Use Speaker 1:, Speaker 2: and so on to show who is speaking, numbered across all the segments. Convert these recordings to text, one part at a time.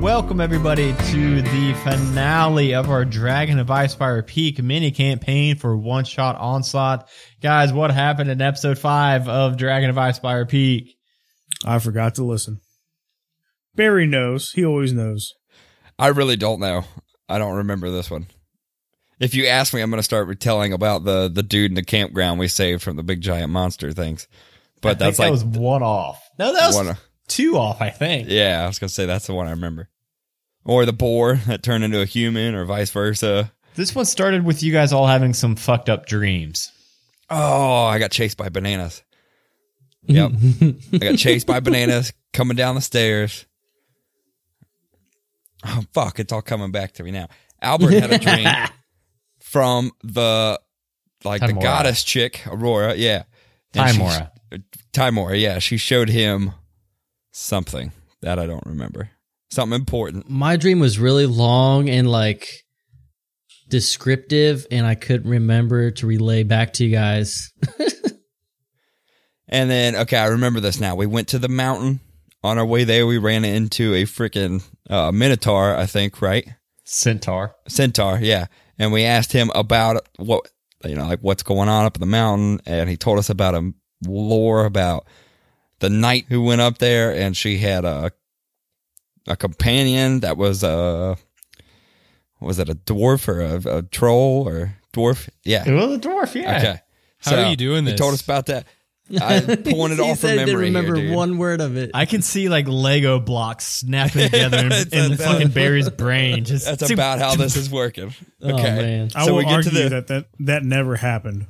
Speaker 1: Welcome everybody to the finale of our Dragon of Icefire Peak mini campaign for One Shot Onslaught. Guys, what happened in episode five of Dragon of Icefire Peak?
Speaker 2: I forgot to listen. Barry knows. He always knows.
Speaker 3: I really don't know. I don't remember this one. If you ask me, I'm going to start telling about the the dude in the campground we saved from the big giant monster things.
Speaker 1: I
Speaker 3: But
Speaker 1: think
Speaker 3: that's like,
Speaker 1: that was one off. No, that was
Speaker 3: One-
Speaker 1: two off. I think.
Speaker 3: yeah, I was going to say that's the one I remember. Or the boar that turned into a human, or vice versa.
Speaker 1: This one started with you guys all having some fucked up dreams.
Speaker 3: Oh, I got chased by bananas. Yep, I got chased by bananas coming down the stairs. Oh fuck! It's all coming back to me now. Albert had a dream from the like the
Speaker 1: Tamora.
Speaker 3: goddess chick Aurora. Yeah, And she-
Speaker 1: Timora.
Speaker 3: Timora, yeah, she showed him something that I don't remember. Something important.
Speaker 4: my dream was really long and like descriptive and i couldn't remember to relay back to you guys
Speaker 3: And then, okay, I remember this now. We went to the mountain. On our way there, we ran into a freaking uh, minotaur, I think, right?
Speaker 1: Centaur.
Speaker 3: Centaur, yeah. And we asked him about what, you know, like what's going on up in the mountain. And he told us about a lore about the knight who went up there and she had a, a companion that was a, was it a dwarf or a, a troll or dwarf? Yeah.
Speaker 1: Well, the dwarf. Yeah.
Speaker 3: Okay.
Speaker 5: How are you doing
Speaker 3: He
Speaker 5: this?
Speaker 3: told us about that. I pulling it
Speaker 4: He
Speaker 3: off from
Speaker 4: said he
Speaker 3: memory.
Speaker 4: didn't remember
Speaker 3: here, dude.
Speaker 4: one word of it
Speaker 1: I can see like Lego blocks snapping together in,
Speaker 3: It's
Speaker 1: in
Speaker 3: a-
Speaker 1: fucking Barry's brain. Just
Speaker 3: That's about how this is working. Okay.
Speaker 4: oh man
Speaker 2: I
Speaker 3: So
Speaker 2: will
Speaker 3: we get to
Speaker 2: argue
Speaker 3: the-
Speaker 2: that, that that never happened.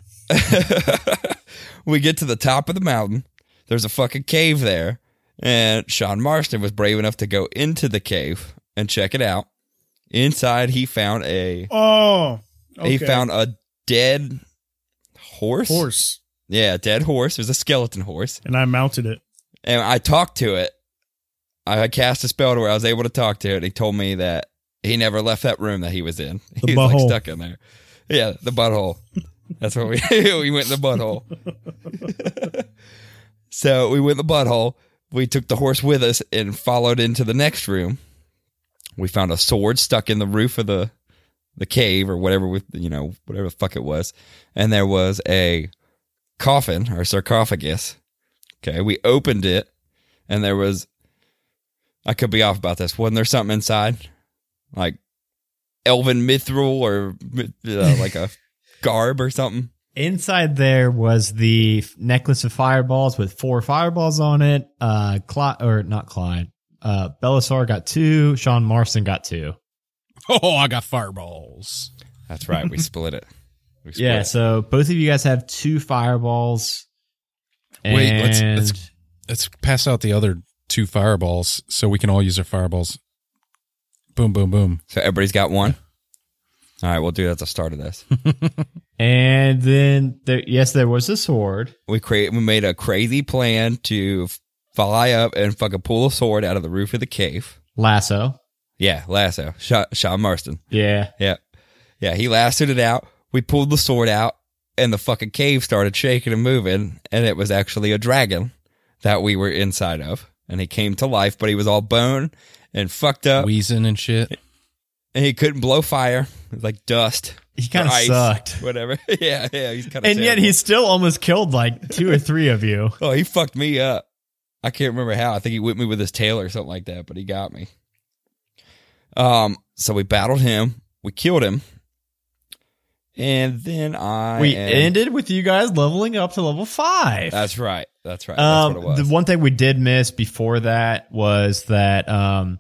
Speaker 3: we get to the top of the mountain. There's a fucking cave there. And Sean Marston was brave enough to go into the cave and check it out. Inside, he found a
Speaker 2: Oh, okay.
Speaker 3: he found a dead horse.
Speaker 2: horse,
Speaker 3: Yeah, dead horse. It was a skeleton horse.
Speaker 2: and I mounted it.
Speaker 3: And I talked to it. I cast a spell to where I was able to talk to it. He told me that he never left that room that he was in.
Speaker 2: The
Speaker 3: he was like
Speaker 2: butthole.
Speaker 3: stuck in there. Yeah, the butthole. That's where we we went in the butthole. so we went in the butthole. We took the horse with us and followed into the next room. We found a sword stuck in the roof of the the cave or whatever with you know whatever the fuck it was, and there was a coffin or sarcophagus. Okay, we opened it, and there was. I could be off about this. Wasn't there something inside, like elven mithril or uh, like a garb or something?
Speaker 1: Inside there was the f- necklace of fireballs with four fireballs on it. Uh, Clyde, or not Clyde. Uh, Belisar got two. Sean Marston got two.
Speaker 5: Oh, I got fireballs.
Speaker 3: That's right. We split it. We split
Speaker 1: Yeah.
Speaker 3: it.
Speaker 1: So both of you guys have two fireballs.
Speaker 5: Wait, let's-
Speaker 1: And-
Speaker 5: let's- Let's pass out the other two fireballs so we can all use our fireballs. Boom, boom, boom.
Speaker 3: So everybody's got one. All right, we'll do that at the start of this.
Speaker 1: and then there, yes, there was a sword.
Speaker 3: we create. We made a crazy plan to f- fly up and fucking pull a sword out of the roof of the cave.
Speaker 1: Lasso.
Speaker 3: Yeah, lasso. Sha Sean Marston.
Speaker 1: Yeah.
Speaker 3: Yeah. Yeah, he lassoed it out. We pulled the sword out, and the fucking cave started shaking and moving, and it was actually a dragon that we were inside of. And he came to life, but he was all bone and fucked
Speaker 6: Uh,
Speaker 3: up,
Speaker 5: Wheezing and shit.
Speaker 3: and he couldn't blow fire. It was like dust.
Speaker 1: He kind
Speaker 3: or
Speaker 1: of
Speaker 3: ice,
Speaker 1: sucked.
Speaker 3: Whatever. yeah, yeah, he's kind of
Speaker 1: And yet he still almost killed like two or three of you.
Speaker 3: Oh, he fucked me up. I can't remember how. I think he whipped me with his tail or something like that, but he got me. Um, so we battled him. We killed him. And then I
Speaker 1: we
Speaker 3: am-
Speaker 1: ended with you guys leveling up to level five.
Speaker 3: That's right. That's right.
Speaker 1: Um,
Speaker 3: That's what it
Speaker 1: the
Speaker 3: was.
Speaker 1: one thing we did miss before that was that um,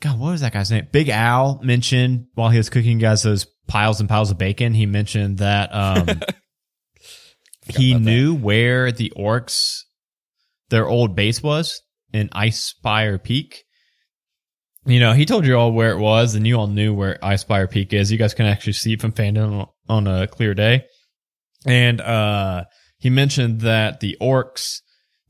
Speaker 1: God, what was that guy's name? Big Al mentioned while he was cooking you guys those piles and piles of bacon. He mentioned that um, he
Speaker 3: about that.
Speaker 1: knew where the orcs, their old base was in Ice Spire Peak. You know, he told you all where it was, and you all knew where Ice Spire Peak is. You guys can actually see it from Fandom on a clear day. And uh, he mentioned that the orcs,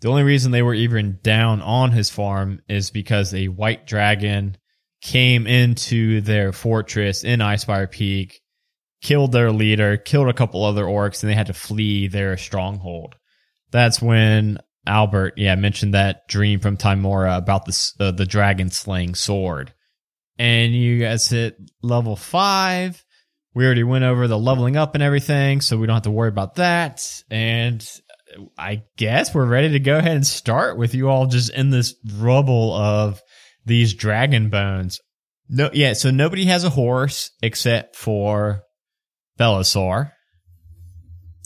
Speaker 1: the only reason they were even down on his farm is because a white dragon came into their fortress in Icefire Peak, killed their leader, killed a couple other orcs, and they had to flee their stronghold. That's when Albert, yeah, mentioned that dream from Timora about the s- uh, the dragon slaying sword, and you guys hit level five. We already went over the leveling up and everything, so we don't have to worry about that. And I guess we're ready to go ahead and start with you all just in this rubble of these dragon bones. No, yeah. So nobody has a horse except for Belisar.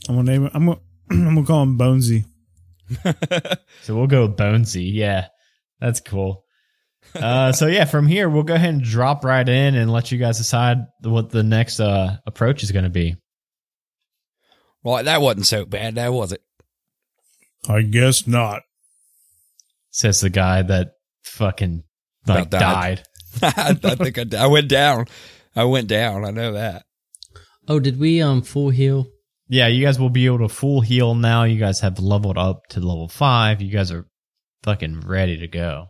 Speaker 2: I'm gonna name. it- I'm gonna. I'm gonna call him Bonesy.
Speaker 1: So we'll go Bonesy. Yeah, that's cool. Uh, so yeah, from here we'll go ahead and drop right in and let you guys decide what the next uh, approach is going to be.
Speaker 3: Well, that wasn't so bad, now was it?
Speaker 2: I guess not.
Speaker 1: Says the guy that fucking like
Speaker 3: About died.
Speaker 1: died.
Speaker 3: I think I, I went down. I went down. I know that.
Speaker 4: Oh, did we um full heal?
Speaker 1: Yeah, you guys will be able to full heal now. You guys have leveled up to level five. You guys are fucking ready to go.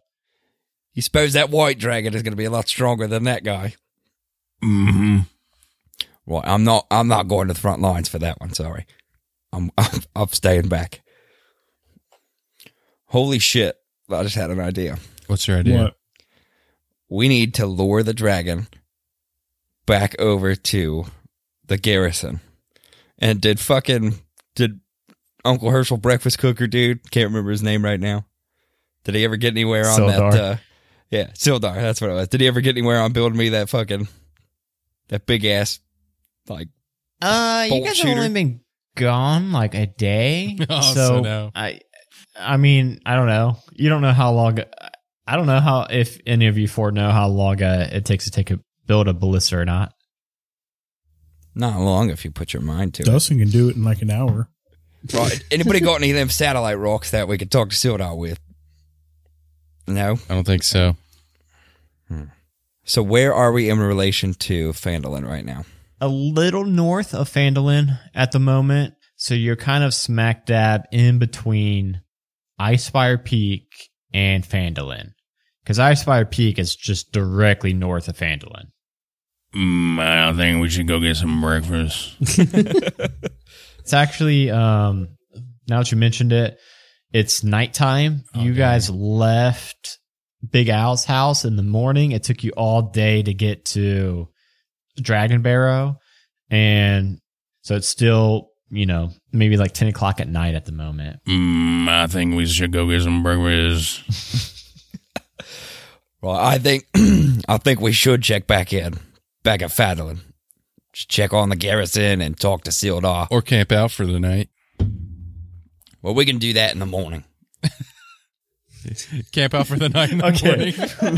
Speaker 3: You suppose that white dragon is going to be a lot stronger than that guy?
Speaker 5: Mm-hmm.
Speaker 3: Well, I'm not. I'm not going to the front lines for that one. Sorry, I'm. I'm, I'm staying back. Holy shit! I just had an idea.
Speaker 5: What's your idea?
Speaker 2: What?
Speaker 3: We need to lure the dragon back over to the garrison. And did fucking did Uncle Herschel breakfast cooker dude? Can't remember his name right now. Did he ever get anywhere on
Speaker 1: Sildar.
Speaker 3: that? Uh, yeah, Sildar. That's what it was. Did he ever get anywhere on building me that fucking that big ass like?
Speaker 1: Uh, you
Speaker 3: bolt
Speaker 1: guys
Speaker 3: shooter.
Speaker 1: have only been gone like a day,
Speaker 5: Oh,
Speaker 1: so,
Speaker 5: so no.
Speaker 1: I, I mean, I don't know. You don't know how long. I don't know how if any of you four know how long uh, it takes to take a build a ballista or not.
Speaker 3: Not long if you put your mind to it.
Speaker 2: Dustin can do it in like an hour.
Speaker 3: Right. Anybody got any of them satellite rocks that we could talk to Sildar with? No.
Speaker 5: I don't think so.
Speaker 3: So where are we in relation to Fandolin right now?
Speaker 1: A little north of Fandolin at the moment, so you're kind of smack dab in between Icefire Peak and Fandolin, because Icefire Peak is just directly north of Fandolin.
Speaker 5: Mm, I think we should go get some breakfast.
Speaker 1: It's actually um now that you mentioned it, it's nighttime. you
Speaker 5: Okay.
Speaker 1: guys left Big Al's house in the morning. It took you all day to get to Dragon Barrow. And so it's still, you know, maybe like ten o'clock at night at the moment.
Speaker 5: Mm, I think we should go get some breakfast.
Speaker 3: Well, I think I think we should check back in. Back at Fandolin. Just check on the garrison and talk to Sildar.
Speaker 5: Or camp out for the night.
Speaker 3: Well, we can do that in the morning.
Speaker 5: Camp out for the night. In the
Speaker 1: Okay.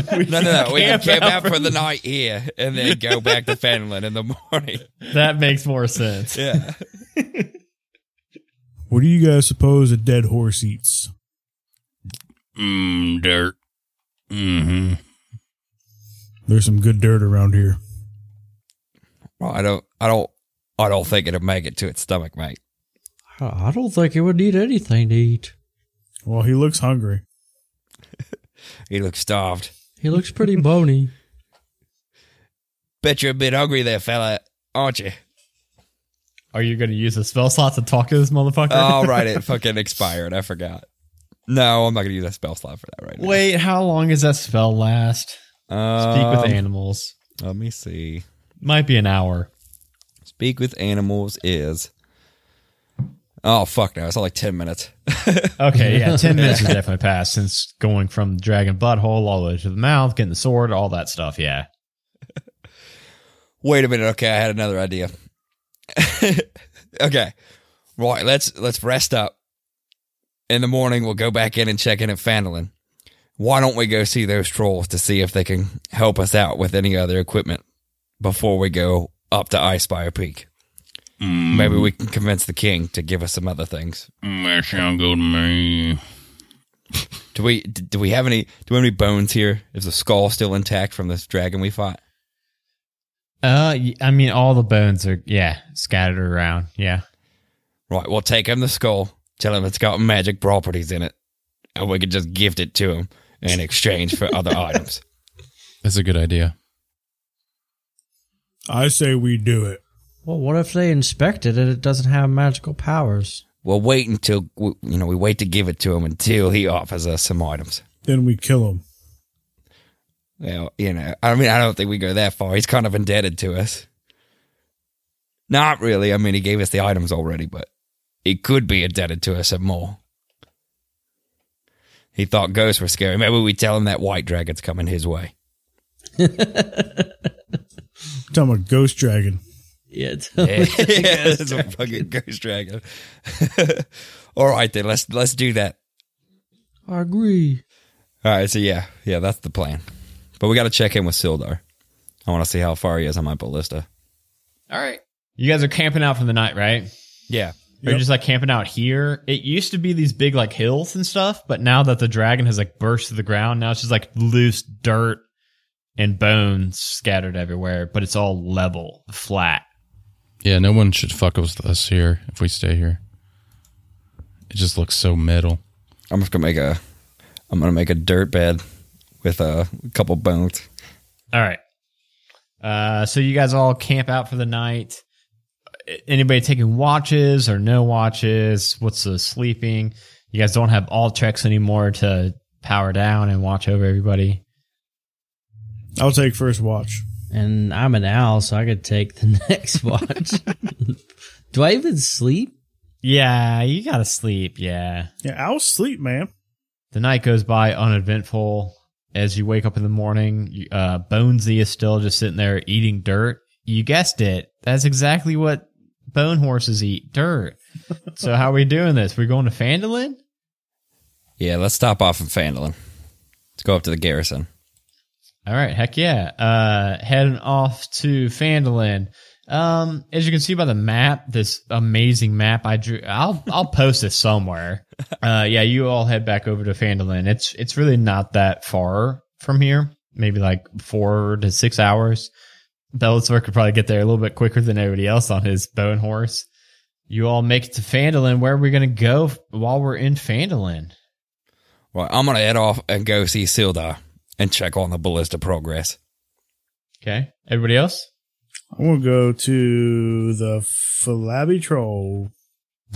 Speaker 5: morning.
Speaker 3: No, no, no. We can camp out for the night here and then go back to Fandolin in the morning.
Speaker 1: That makes more sense.
Speaker 3: Yeah.
Speaker 2: What do you guys suppose a dead horse eats?
Speaker 5: Mm, dirt. Mm-hmm.
Speaker 2: There's some good dirt around here.
Speaker 3: Well, I don't I don't I don't think it'll make it to its stomach, mate.
Speaker 4: I I don't think it would need anything to eat.
Speaker 2: Well, he looks hungry.
Speaker 3: He looks starved.
Speaker 4: He looks pretty bony.
Speaker 3: Bet you're a bit hungry there, fella, aren't you?
Speaker 1: Are you gonna use the spell slot to talk to this motherfucker?
Speaker 3: oh, right, it fucking expired. I forgot. No, I'm not gonna use that spell slot for that right
Speaker 1: Wait, how long does that spell last?
Speaker 3: now.
Speaker 1: Speak with
Speaker 3: Um,
Speaker 1: animals.
Speaker 3: Let me see.
Speaker 1: Might be an hour.
Speaker 3: Speak with animals is. Oh fuck! No, it's all like ten minutes.
Speaker 1: Okay, yeah, ten minutes has definitely passed since going from dragon butthole all the way to the mouth, getting the sword, all that stuff. Yeah,
Speaker 3: Wait a minute. Okay, I had another idea. okay, right. Let's let's rest up. In the morning, we'll go back in and check in at Fandolin. Why don't we go see those trolls to see if they can help us out with any other equipment before we go up to Icefire Peak? Maybe we can convince the king to give us some other things.
Speaker 5: Mm, that sound good to me.
Speaker 3: Do we d- do we have any do we have any bones here? Is the skull still intact from this dragon we fought?
Speaker 1: uh, y- I mean, all the bones are yeah scattered around. Yeah,
Speaker 3: Right, we'll take him the skull, tell him it's got magic properties in it, and we could just gift it to him in exchange for other items.
Speaker 5: That's a good idea.
Speaker 2: I say we do it.
Speaker 4: Well, what if they inspected it? It doesn't have magical powers.
Speaker 3: We'll wait until we, you know we wait to give it to him until he offers us some items.
Speaker 2: Then we kill him.
Speaker 3: Well, you know, I mean, I don't think we go that far. He's kind of indebted to us. Not really. I mean, he gave us the items already, but he could be indebted to us some more. He thought ghosts were scary. Maybe we tell him that white dragon's coming his way.
Speaker 2: talking about Ghost Dragon.
Speaker 4: Yeah.
Speaker 3: yeah, it's a fucking ghost dragon. All right, then let's let's do that.
Speaker 4: I agree.
Speaker 3: All right, so yeah, yeah, that's the plan. But we got to check in with Sildar. I want to see how far he is on my ballista.
Speaker 1: All right. You guys are camping out for the night, right?
Speaker 3: Yeah,
Speaker 1: Or
Speaker 2: Yep.
Speaker 1: just like camping out here. It used to be these big like hills and stuff, but now that the dragon has like burst to the ground, now it's just like loose dirt and bones scattered everywhere, but it's all level, flat.
Speaker 5: Yeah, no one should fuck with us here if we stay here. It just looks so metal.
Speaker 3: I'm just gonna make a, I'm gonna make a dirt bed with a couple bones.
Speaker 1: All right. Uh, so you guys all camp out for the night. Anybody taking watches or no watches? What's the sleeping? You guys don't have all checks anymore to power down and watch over everybody.
Speaker 2: I'll take first watch.
Speaker 4: And I'm an owl, so I could take the next watch. Do I even sleep?
Speaker 1: Yeah, you gotta sleep. Yeah.
Speaker 2: Yeah, I'll sleep, man.
Speaker 1: The night goes by uneventful. As you wake up in the morning, you- uh, Bonesy is still just sitting there eating dirt. You guessed it. That's exactly what bone horses eat dirt. so, how are we doing this? We're going to Fandolin?
Speaker 3: Yeah, let's stop off in Fandolin. Let's go up to the garrison.
Speaker 1: All right, heck yeah. Uh, heading off to Fandolin. Um, as you can see by the map, this amazing map I drew. I'll I'll post this somewhere. Uh, yeah, you all head back over to Fandolin. It's it's really not that far from here. Maybe like four to six hours. Bellator could probably get there a little bit quicker than everybody else on his bone horse. You all make it to Fandolin. Where are we gonna go f- while we're in Fandolin?
Speaker 3: Right, I'm gonna head off and go see Sildar and check on the ballista progress.
Speaker 1: Okay, everybody else.
Speaker 2: I'm gonna go to the Falabi Troll.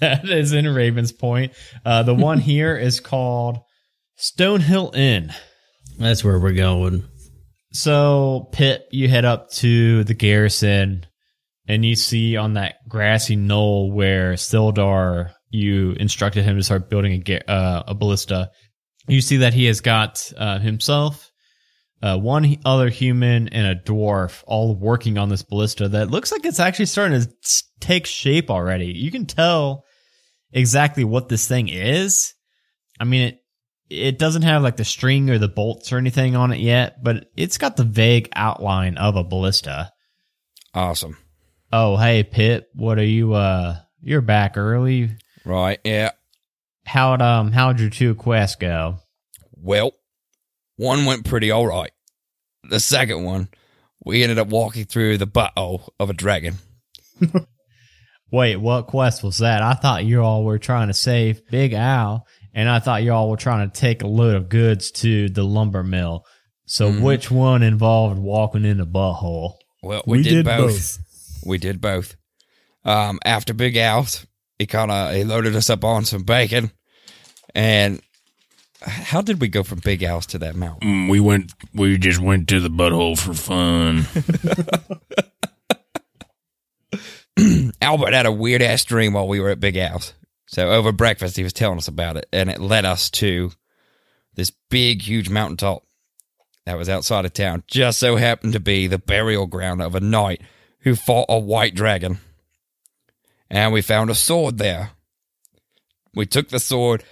Speaker 1: that is in Ravens Point. Uh, the one here is called Stonehill Inn.
Speaker 4: That's where we're going.
Speaker 1: So, Pip, you head up to the garrison and you see on that grassy knoll where Sildar, you instructed him to start building a, ga- uh, a ballista. You see that he has got uh, himself, uh, one h- other human, and a dwarf all working on this ballista that looks like it's actually starting to s- take shape already. You can tell exactly what this thing is. I mean, it it doesn't have like the string or the bolts or anything on it yet, but it's got the vague outline of a ballista.
Speaker 3: Awesome.
Speaker 1: Oh, hey Pip, what are you? Uh, you're back early.
Speaker 3: Right. Yeah.
Speaker 1: How'd um how'd your two quests go?
Speaker 3: Well, one went pretty all right. The second one, we ended up walking through the butthole of a dragon.
Speaker 1: Wait, what quest was that? I thought you all were trying to save Big Al, and I thought you all were trying to take a load of goods to the lumber mill. So
Speaker 3: Mhm.
Speaker 1: which one involved walking in the butthole?
Speaker 3: Well, we, did, both. We did both. Um, after Big Al's, he kind of he loaded us up on some bacon, and how did we go from Big Al's to that mountain?
Speaker 6: Mm, we went. We just went to the butthole for fun.
Speaker 3: Albert had a weird ass dream while we were at Big Al's. So over breakfast, he was telling us about it, and it led us to this big, huge mountaintop that was outside of town. Just so happened to be the burial ground of a knight who fought a white dragon. And we found a sword there. We took the sword,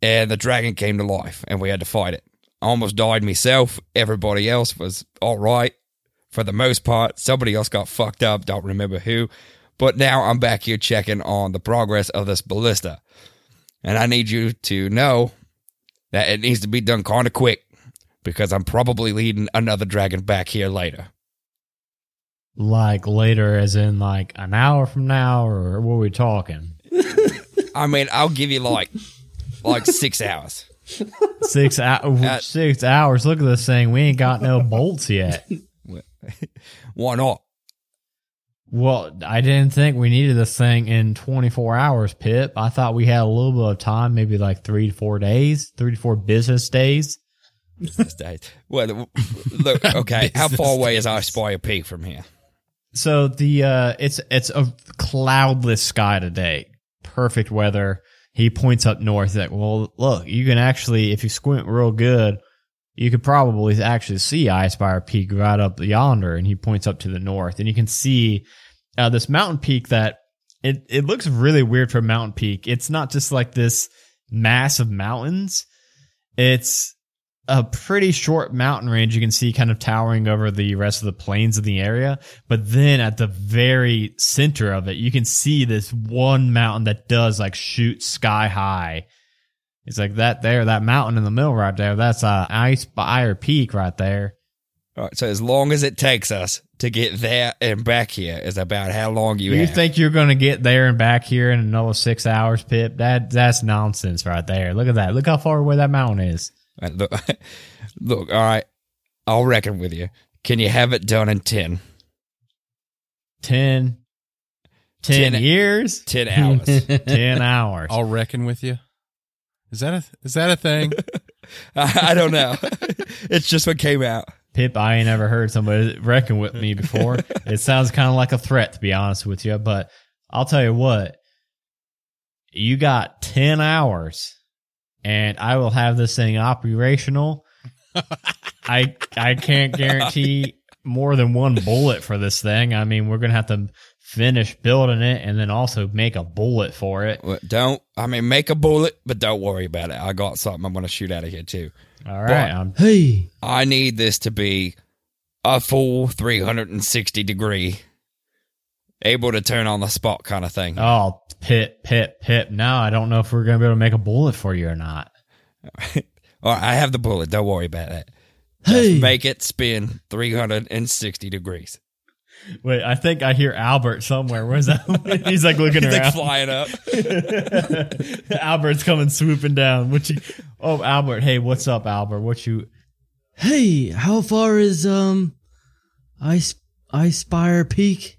Speaker 3: and the dragon came to life, and we had to fight it. I almost died myself. Everybody else was all right for the most part. Somebody else got fucked up. Don't remember who. But now I'm back here checking on the progress of this ballista. And I need you to know that it needs to be done kind of quick because I'm probably leading another dragon back here later.
Speaker 1: Like later, as in like an hour from now, or what are we talking?
Speaker 3: I mean, I'll give you like like 6 hours.
Speaker 1: six hours.
Speaker 3: Uh,
Speaker 1: six hours. Look at this thing. We ain't got no bolts yet.
Speaker 3: Why not?
Speaker 1: Well, I didn't think we needed this thing in 24 hours, Pip. I thought we had a little bit of time, maybe like three to four days, three to four business days.
Speaker 3: Business days. What? Look, okay. How far away is Osprey Peak from here?
Speaker 1: So the uh, it's it's a cloudless sky today, perfect weather. He points up north that well, look, you can actually if you squint real good, you could probably actually see Icepire Peak right up yonder. And he points up to the north, and you can see uh, this mountain peak that it it looks really weird for a mountain peak. It's not just like this mass of mountains. It's a pretty short mountain range you can see kind of towering over the rest of the plains of the area. But then at the very center of it, you can see this one mountain that does like shoot sky high. It's like that there, that mountain in the middle right there. That's uh, Ice Fire Peak right there.
Speaker 3: All right. So as long as it takes us to get there and back here is about how long you,
Speaker 1: Do you
Speaker 3: have.
Speaker 1: think you're going to get there and back here in another six hours, Pip? That that's nonsense right there. Look at that. Look how far away that mountain is.
Speaker 3: All right, look, look. All right. I'll reckon with you. Can you have it done in ten?
Speaker 1: 10, 10,
Speaker 3: Ten-
Speaker 1: years,
Speaker 3: Ten hours.
Speaker 1: 10 hours.
Speaker 5: I'll reckon with you. Is that a is that a thing?
Speaker 3: I, I don't know. it's just what came out.
Speaker 1: Pip, I ain't ever heard somebody reckon with me before. it sounds kind of like a threat, to be honest with you. But I'll tell you what, you got 10 hours, and I will have this thing operational. I I can't guarantee more than one bullet for this thing. I mean, we're gonna have to finish building it and then also make a bullet for it.
Speaker 3: Well, don't. I mean, make a bullet, but don't worry about it. I got something I'm going to shoot out of here too.
Speaker 1: All right,
Speaker 3: But-
Speaker 1: I'm
Speaker 4: Hey,
Speaker 3: I need this to be a full 360 degree, able to turn on the spot kind of thing.
Speaker 1: oh Pip, Pip, Pip. Now I don't know if we're gonna be able to make a bullet for you or not.
Speaker 3: All right, I have the bullet. Don't worry about that. Just
Speaker 4: hey.
Speaker 3: make it spin 360 degrees.
Speaker 1: Wait, I think I hear Albert somewhere. Where's that? He's like looking
Speaker 3: He's like
Speaker 1: around.
Speaker 3: flying up.
Speaker 1: Albert's coming swooping down. What you? Oh, Albert. Hey, what's up, Albert? What you?
Speaker 4: Hey, how far is um Ice Icepire Peak?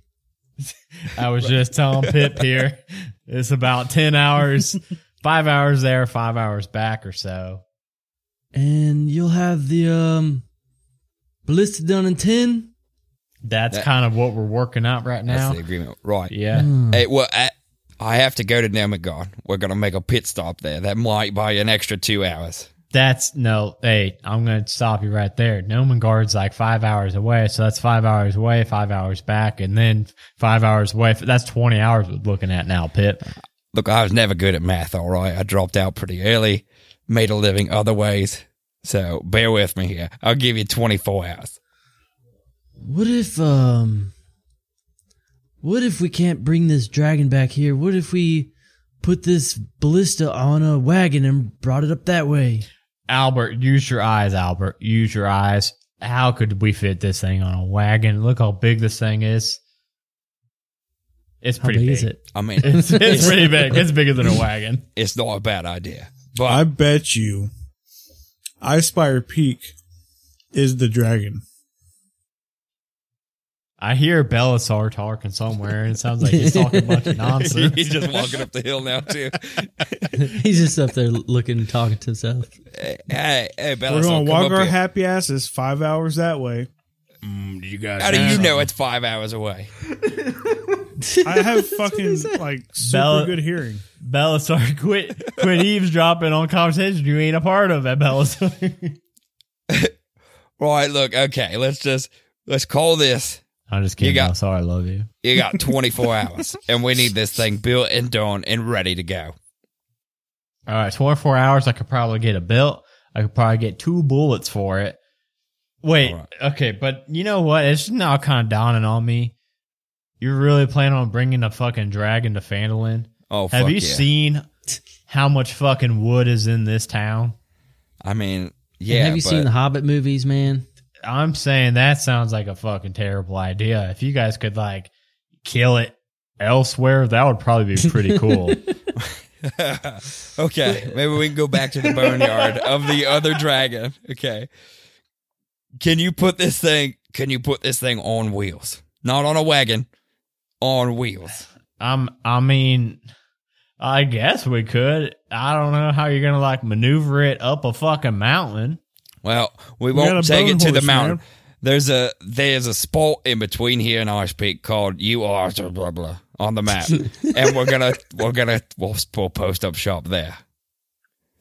Speaker 1: I was just telling Pip here. It's about ten hours, five hours there, five hours back or so.
Speaker 4: And you'll have the um ballista done in ten?
Speaker 1: That's
Speaker 3: That-
Speaker 1: kind of what we're working out right
Speaker 3: That's
Speaker 1: now.
Speaker 3: the agreement. Right.
Speaker 1: Yeah.
Speaker 3: Hey, well, I, I have to go to Nemagon. We're going to make a pit stop there. That might buy you an extra two hours.
Speaker 1: That's no. Hey, I'm gonna stop you right there. Nomengard's like five hours away, so that's five hours away, five hours back, and then five hours away. That's twenty hours we're looking at now, Pip.
Speaker 3: Look, I was never good at math, all right? I dropped out pretty early, made a living other ways. So bear with me here. I'll give you 24 hours.
Speaker 4: What if um what if we can't bring this dragon back here? What if we put this ballista on a wagon and brought it up that way?
Speaker 1: Albert, use your eyes, Albert. Use your eyes. How could we fit this thing on a wagon? Look how big this thing is. It's
Speaker 4: How
Speaker 1: pretty
Speaker 4: big
Speaker 1: big.
Speaker 4: is it?
Speaker 3: I mean,
Speaker 1: It's, it's pretty big. It's bigger than a wagon.
Speaker 3: it's not a bad idea.
Speaker 2: I
Speaker 3: But
Speaker 2: bet you Icepire Peak is the dragon.
Speaker 1: I hear Belisar talking somewhere, and it sounds like he's talking a bunch of nonsense.
Speaker 3: he's just walking up the hill now, too.
Speaker 4: He's just up there looking and talking to himself.
Speaker 3: hey, hey, Bella,
Speaker 2: We're
Speaker 3: so
Speaker 2: going
Speaker 3: come
Speaker 2: to walk
Speaker 3: up
Speaker 2: our
Speaker 3: here.
Speaker 2: happy asses five hours that way.
Speaker 6: Mm, did you guys
Speaker 3: How do you
Speaker 6: have
Speaker 3: know it's five hours away?
Speaker 2: I have fucking like super
Speaker 1: Ballot-
Speaker 2: good hearing.
Speaker 1: Belisar, quit, quit eavesdropping on conversations you ain't a part of at Belisar.
Speaker 3: Right, look, okay, let's just, let's call this.
Speaker 1: I'm just kidding.
Speaker 3: You got-
Speaker 1: I'm sorry. I love you.
Speaker 3: You got 24 hours, and we need this thing built and done and ready to go.
Speaker 1: All right, 24 hours. I could probably get a belt. I could probably get two bullets for it. Wait,
Speaker 3: All right.
Speaker 1: okay, but you know what? It's now kind of dawning on me. You're really planning on bringing the fucking dragon to Fandolin?
Speaker 3: Oh,
Speaker 1: Have
Speaker 3: fuck
Speaker 1: you
Speaker 3: yeah.
Speaker 1: seen how much fucking wood is in this town?
Speaker 3: I mean, yeah.
Speaker 4: have you
Speaker 3: but-
Speaker 4: seen the Hobbit movies, man?
Speaker 1: I'm saying that sounds like a fucking terrible idea. If you guys could like kill it elsewhere, that would probably be pretty cool.
Speaker 3: okay, maybe we can go back to the boneyard of the other dragon. Okay. Can you put this thing? Can you put this thing on wheels? Not on a wagon. on wheels.
Speaker 1: I'm. I mean, I guess we could. I don't know how you're gonna like maneuver it up a fucking mountain.
Speaker 3: Well, we
Speaker 2: got a
Speaker 3: won't take
Speaker 2: bone
Speaker 3: it to the
Speaker 2: horse,
Speaker 3: mountain.
Speaker 2: man.
Speaker 3: There's a there's a spot in between here and Ice Peak called U R blah blah blah on the map, and we're gonna we're gonna we'll, we'll post up shop there.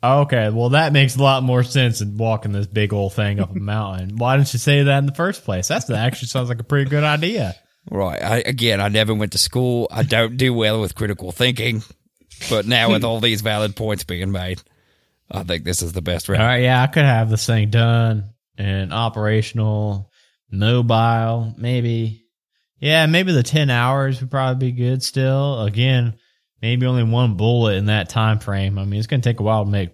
Speaker 1: Okay, well that makes a lot more sense than walking this big old thing up a mountain. Why didn't you say that in the first place? That's that actually sounds like a pretty good idea.
Speaker 3: Right. I, again, I never went to school. I don't do well with critical thinking, but now with all these valid points being made, I think this is the best route.
Speaker 1: All right, yeah, I could have this thing done and operational, mobile, maybe. Yeah, maybe the ten hours would probably be good still. Again, maybe only one bullet in that time frame. I mean, it's gonna take a while to make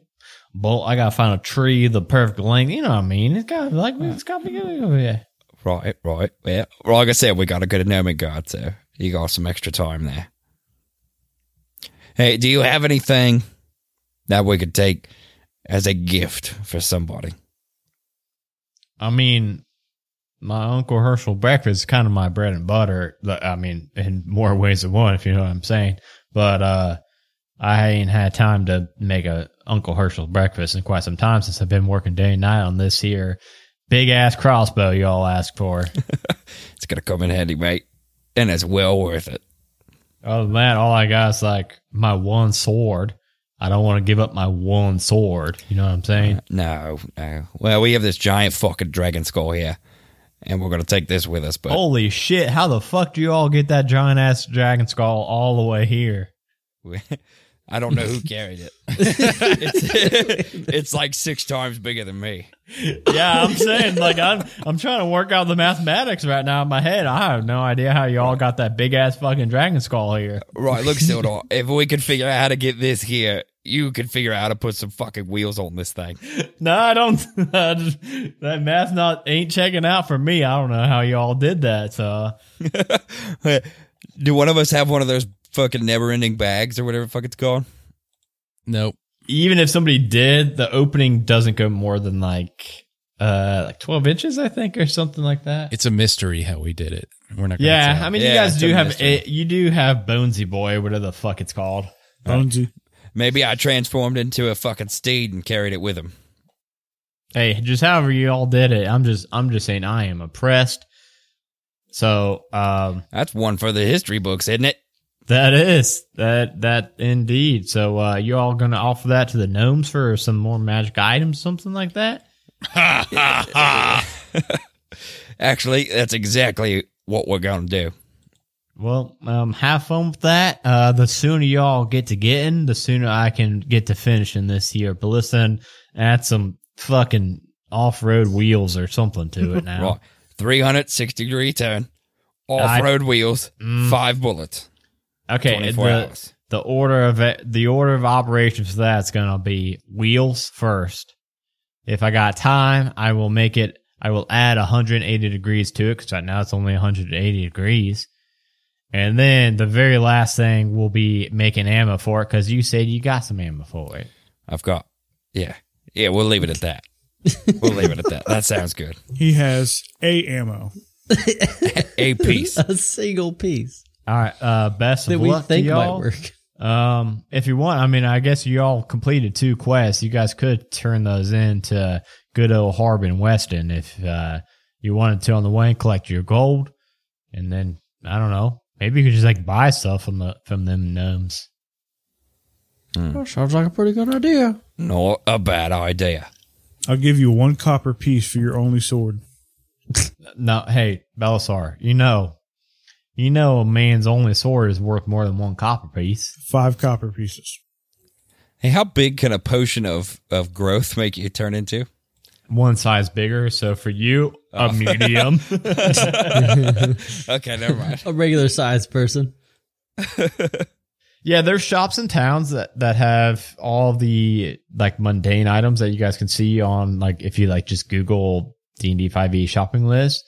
Speaker 1: bolt. I gotta find a tree the perfect length. You know what I mean? It's gotta like it's gotta be good. Yeah.
Speaker 3: Right, right. Yeah. Well, Like I said, we got a good nomad guard, so you got some extra time there. Hey, do you have anything that we could take as a gift for somebody?
Speaker 1: I mean, my uncle Herschel breakfast is kind of my bread and butter. Like, I mean, in more ways than one, if you know what I'm saying. But uh, I ain't had time to make a Uncle Herschel breakfast in quite some time since I've been working day and night on this here big ass crossbow y'all asked for.
Speaker 3: It's gonna come in handy, mate, and it's well worth it.
Speaker 1: Other than that, all I got is like my one sword. I don't want to give up my one sword. You know what I'm saying?
Speaker 3: No, no. Well, we have this giant fucking dragon skull here, and we're gonna take this with us. But
Speaker 1: Holy shit! How the fuck do you all get that giant ass dragon skull all the way here?
Speaker 3: I don't know who carried it. it's, it's like six times bigger than me.
Speaker 1: Yeah, I'm saying like I'm I'm trying to work out the mathematics right now in my head. I have no idea how y'all got that big ass fucking dragon skull here.
Speaker 3: Right, look, Sildor, if we could figure out how to get this here, you could figure out how to put some fucking wheels on this thing.
Speaker 1: No, I don't. I just, that math not ain't checking out for me. I don't know how y'all did that. So
Speaker 3: Do one of us have one of those fucking never ending bags or whatever the fuck it's called?
Speaker 5: Nope.
Speaker 1: even if somebody did, the opening doesn't go more than like uh like 12 inches, I think, or something like that.
Speaker 5: It's a mystery how we did it. We're not. Gonna
Speaker 1: yeah,
Speaker 5: tell.
Speaker 1: I mean,
Speaker 3: Yeah,
Speaker 1: you guys
Speaker 3: it's a
Speaker 1: do have
Speaker 3: mystery.
Speaker 1: it. You do have Bonesy Boy, whatever the fuck it's called.
Speaker 2: Bonesy.
Speaker 3: Maybe I transformed into a fucking steed and carried it with him.
Speaker 1: Hey, just however you all did it, I'm just I'm just saying I am oppressed. So um
Speaker 3: That's one for the history books, isn't it?
Speaker 1: that is that that indeed. So uh you all gonna offer that to the gnomes for some more magic items, something like that?
Speaker 3: Actually, that's exactly what we're gonna do.
Speaker 1: Well, um have fun with that. Uh the sooner y'all get to getting, the sooner I can get to finishing this year. But listen, add some fucking off road wheels or something to it now.
Speaker 3: Right. 360 degree turn, off road wheels, five bullets,
Speaker 1: Okay,
Speaker 3: 24
Speaker 1: the,
Speaker 3: hours.
Speaker 1: the order of it, the order of operations for that's going to be wheels first. If I got time, I will make it. I will add 180 degrees to it because right now it's only 180 degrees. And then the very last thing will be making ammo for it because you said you got some ammo for it.
Speaker 3: I've got. Yeah. Yeah, we'll leave it at that. we'll leave it at that. That sounds good.
Speaker 2: He has a ammo.
Speaker 3: A piece.
Speaker 4: A single piece
Speaker 1: All right, uh, best
Speaker 4: that
Speaker 1: of
Speaker 4: we
Speaker 1: luck
Speaker 4: think
Speaker 1: to
Speaker 4: might
Speaker 1: y'all.
Speaker 4: work.
Speaker 1: Um, if you want, I mean, I guess you all completed two quests. You guys could turn those in to good old Harbin Weston if uh, you wanted to on the way and collect your gold, and then I don't know, maybe you could just like buy stuff from the from them gnomes.
Speaker 4: Well, sounds like a pretty good idea.
Speaker 3: Not a bad idea.
Speaker 2: I'll give you one copper piece for your only sword.
Speaker 1: No, hey Belisar, you know, you know, a man's only sword is worth more than one copper piece.
Speaker 2: Five copper pieces.
Speaker 3: Hey, how big can a potion of, of growth make you turn into?
Speaker 1: One size bigger, so for you, a medium.
Speaker 3: Okay, never mind.
Speaker 4: A regular sized person.
Speaker 1: Yeah, there's shops in towns that that have all the like mundane items that you guys can see on like if you like just Google D and D five E shopping list.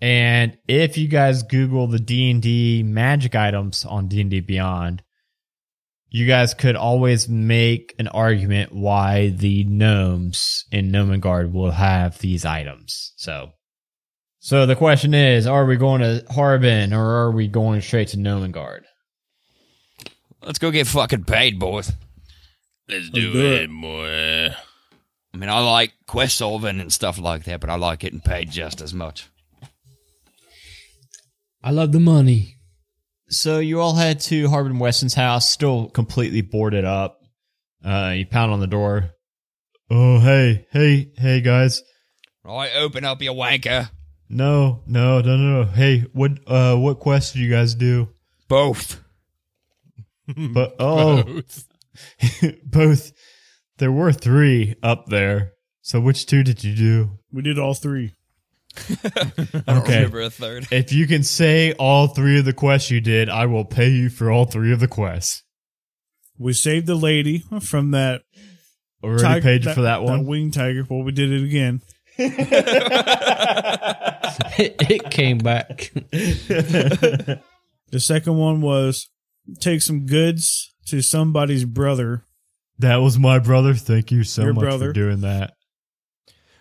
Speaker 1: And if you guys Google the D and D magic items on D and D Beyond, you guys could always make an argument why the gnomes in Nomengard will have these items. So So the question is, are we going to Harbin or are we going straight to Nomengard?
Speaker 3: Let's go get fucking paid, boys.
Speaker 6: Let's do,
Speaker 2: do
Speaker 6: it,
Speaker 2: it.
Speaker 6: boy.
Speaker 3: I mean, I like quest solving and stuff like that, but I like getting paid just as much.
Speaker 4: I love the money.
Speaker 1: So you all head to Harbin Weston's house, still completely boarded up. Uh, you pound on the door. Oh, hey, hey, hey, guys.
Speaker 3: Right, open up your wanker.
Speaker 1: No, no, no, no. no. Hey, what, uh, what quest did you guys do?
Speaker 3: Both.
Speaker 1: But, oh,
Speaker 5: Both.
Speaker 1: both. There were three up there. So which two did you do?
Speaker 2: We did all three.
Speaker 3: I don't
Speaker 1: Okay.
Speaker 3: remember a third.
Speaker 1: If you can say all three of the quests you did, I will pay you for all three of the quests.
Speaker 2: We saved the lady from that
Speaker 1: Already
Speaker 2: tiger-
Speaker 1: paid you for that
Speaker 2: That
Speaker 1: one.
Speaker 2: wing tiger. Well, we did it again.
Speaker 4: it, it came back.
Speaker 2: The second one was take some goods to somebody's brother.
Speaker 1: That was my brother. Thank you so
Speaker 2: Your
Speaker 1: much
Speaker 2: brother.
Speaker 1: for doing that.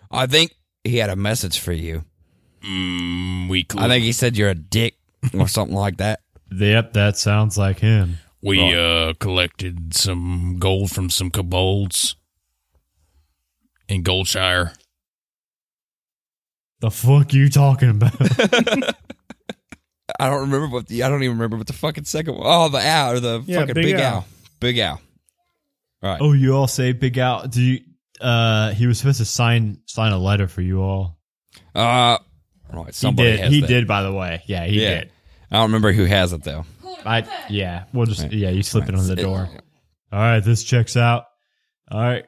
Speaker 3: I think he had a message for you.
Speaker 6: Mm, we cool.
Speaker 3: I think he said you're a dick or something like that.
Speaker 1: Yep, that sounds like him.
Speaker 6: we uh, collected some gold from some kobolds in Goldshire.
Speaker 1: The fuck you talking about?
Speaker 3: I don't remember what the I don't even remember what the fucking second one. Oh, the owl or the
Speaker 2: Yeah,
Speaker 3: fucking big,
Speaker 2: Big
Speaker 3: owl.
Speaker 2: Owl.
Speaker 3: Big owl. All right.
Speaker 1: oh, you all say big out. Do you? Uh, he was supposed to sign sign a letter for you all.
Speaker 3: Uh right, somebody
Speaker 1: he did.
Speaker 3: has
Speaker 1: He
Speaker 3: that.
Speaker 1: did, by the way. Yeah, he
Speaker 3: Yeah.
Speaker 1: did.
Speaker 3: I don't remember who has it though.
Speaker 1: I yeah. We'll just yeah. You slip it on the
Speaker 3: It-
Speaker 1: door. All right, this checks out. All right,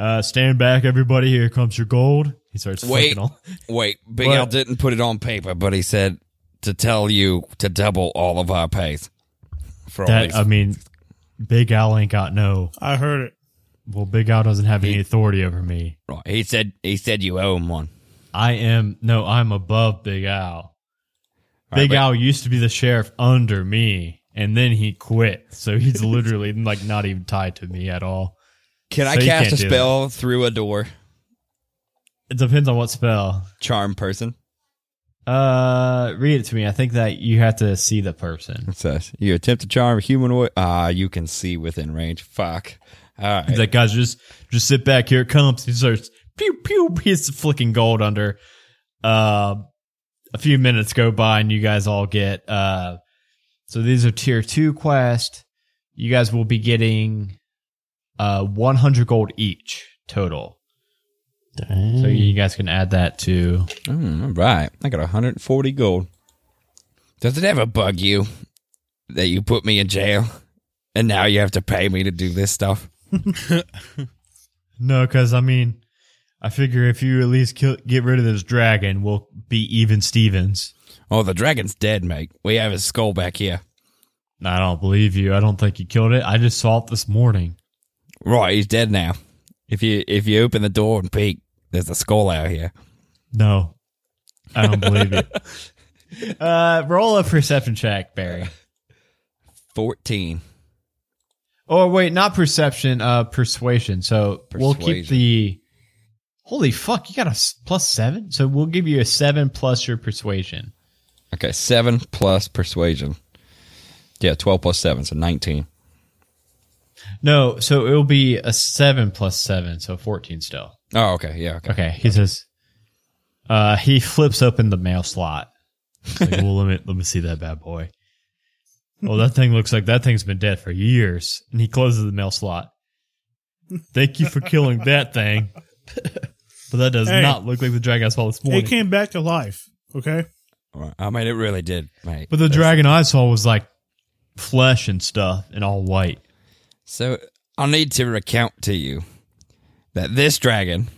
Speaker 1: uh, stand back, everybody. Here comes your gold. He starts
Speaker 3: Wait.
Speaker 1: flicking all.
Speaker 3: Wait, Big
Speaker 1: What?
Speaker 3: Al didn't put it on paper, but he said to tell you to double all of our pays. For all
Speaker 1: That um,
Speaker 3: these.
Speaker 1: I mean, Big Al ain't got no.
Speaker 2: I heard it.
Speaker 1: Well, Big Al doesn't have any authority over me.
Speaker 3: Right. He said he said you owe him one.
Speaker 1: I am no, I'm above Big Al. Big
Speaker 3: but-
Speaker 1: Al used to be the sheriff under me, and then he quit. So he's literally like not even tied to me at all.
Speaker 3: Can I
Speaker 1: So you
Speaker 3: cast
Speaker 1: can't
Speaker 3: a
Speaker 1: do that.
Speaker 3: spell through a door?
Speaker 1: It depends on what spell.
Speaker 3: Charm person.
Speaker 1: Uh, read it to me. I think that you have to see the person.
Speaker 3: It says you attempt to charm a humanoid. Ah, you can see within range. Fuck. All right.
Speaker 1: He's like, guys, just just sit back. Here it comes. He starts pew pew. He's flicking gold under. Uh, a few minutes go by, and you guys all get. Uh, so these are tier two quest. You guys will be getting, uh, one hundred gold each total. So you guys can add that to.
Speaker 3: Mm, all right. I got 140 gold. Does it ever bug you that you put me in jail and now you have to pay me to do this stuff?
Speaker 1: No, because I mean, I figure if you at least kill, get rid of this dragon, we'll be even Stevens.
Speaker 3: Oh, the dragon's dead, mate. We have his skull back here.
Speaker 1: I don't believe you. I don't think you killed it. I just saw it this morning.
Speaker 3: Right, he's dead now. If you if you open the door and peek, there's a skull out here.
Speaker 1: No, I don't believe you. Uh, roll a perception check, Barry.
Speaker 3: 14.
Speaker 1: Oh wait, not perception, uh, persuasion. So we'll keep
Speaker 3: Persuasion.
Speaker 1: the. Holy fuck! You got a s- plus seven, so we'll give you a seven plus your persuasion.
Speaker 3: Okay, 7 plus persuasion. Yeah, 12 plus 7, so 19.
Speaker 1: No, so it'll be a seven plus seven, so fourteen still.
Speaker 3: Oh, okay. Yeah, okay.
Speaker 1: Okay, he says. Uh, he flips open the mail slot. He's like, well, let me let me see that bad boy. Well, that thing looks like that thing's been dead for years, and he closes the mail slot. Thank you for killing that thing, but that does
Speaker 2: Hey.
Speaker 1: not look like the dragon I saw this morning.
Speaker 2: It came back to life. Okay.
Speaker 3: All right. I mean, it really did, mate.
Speaker 1: but the dragon I saw was like flesh and stuff, and all white.
Speaker 3: So I need to recount to you that this dragon,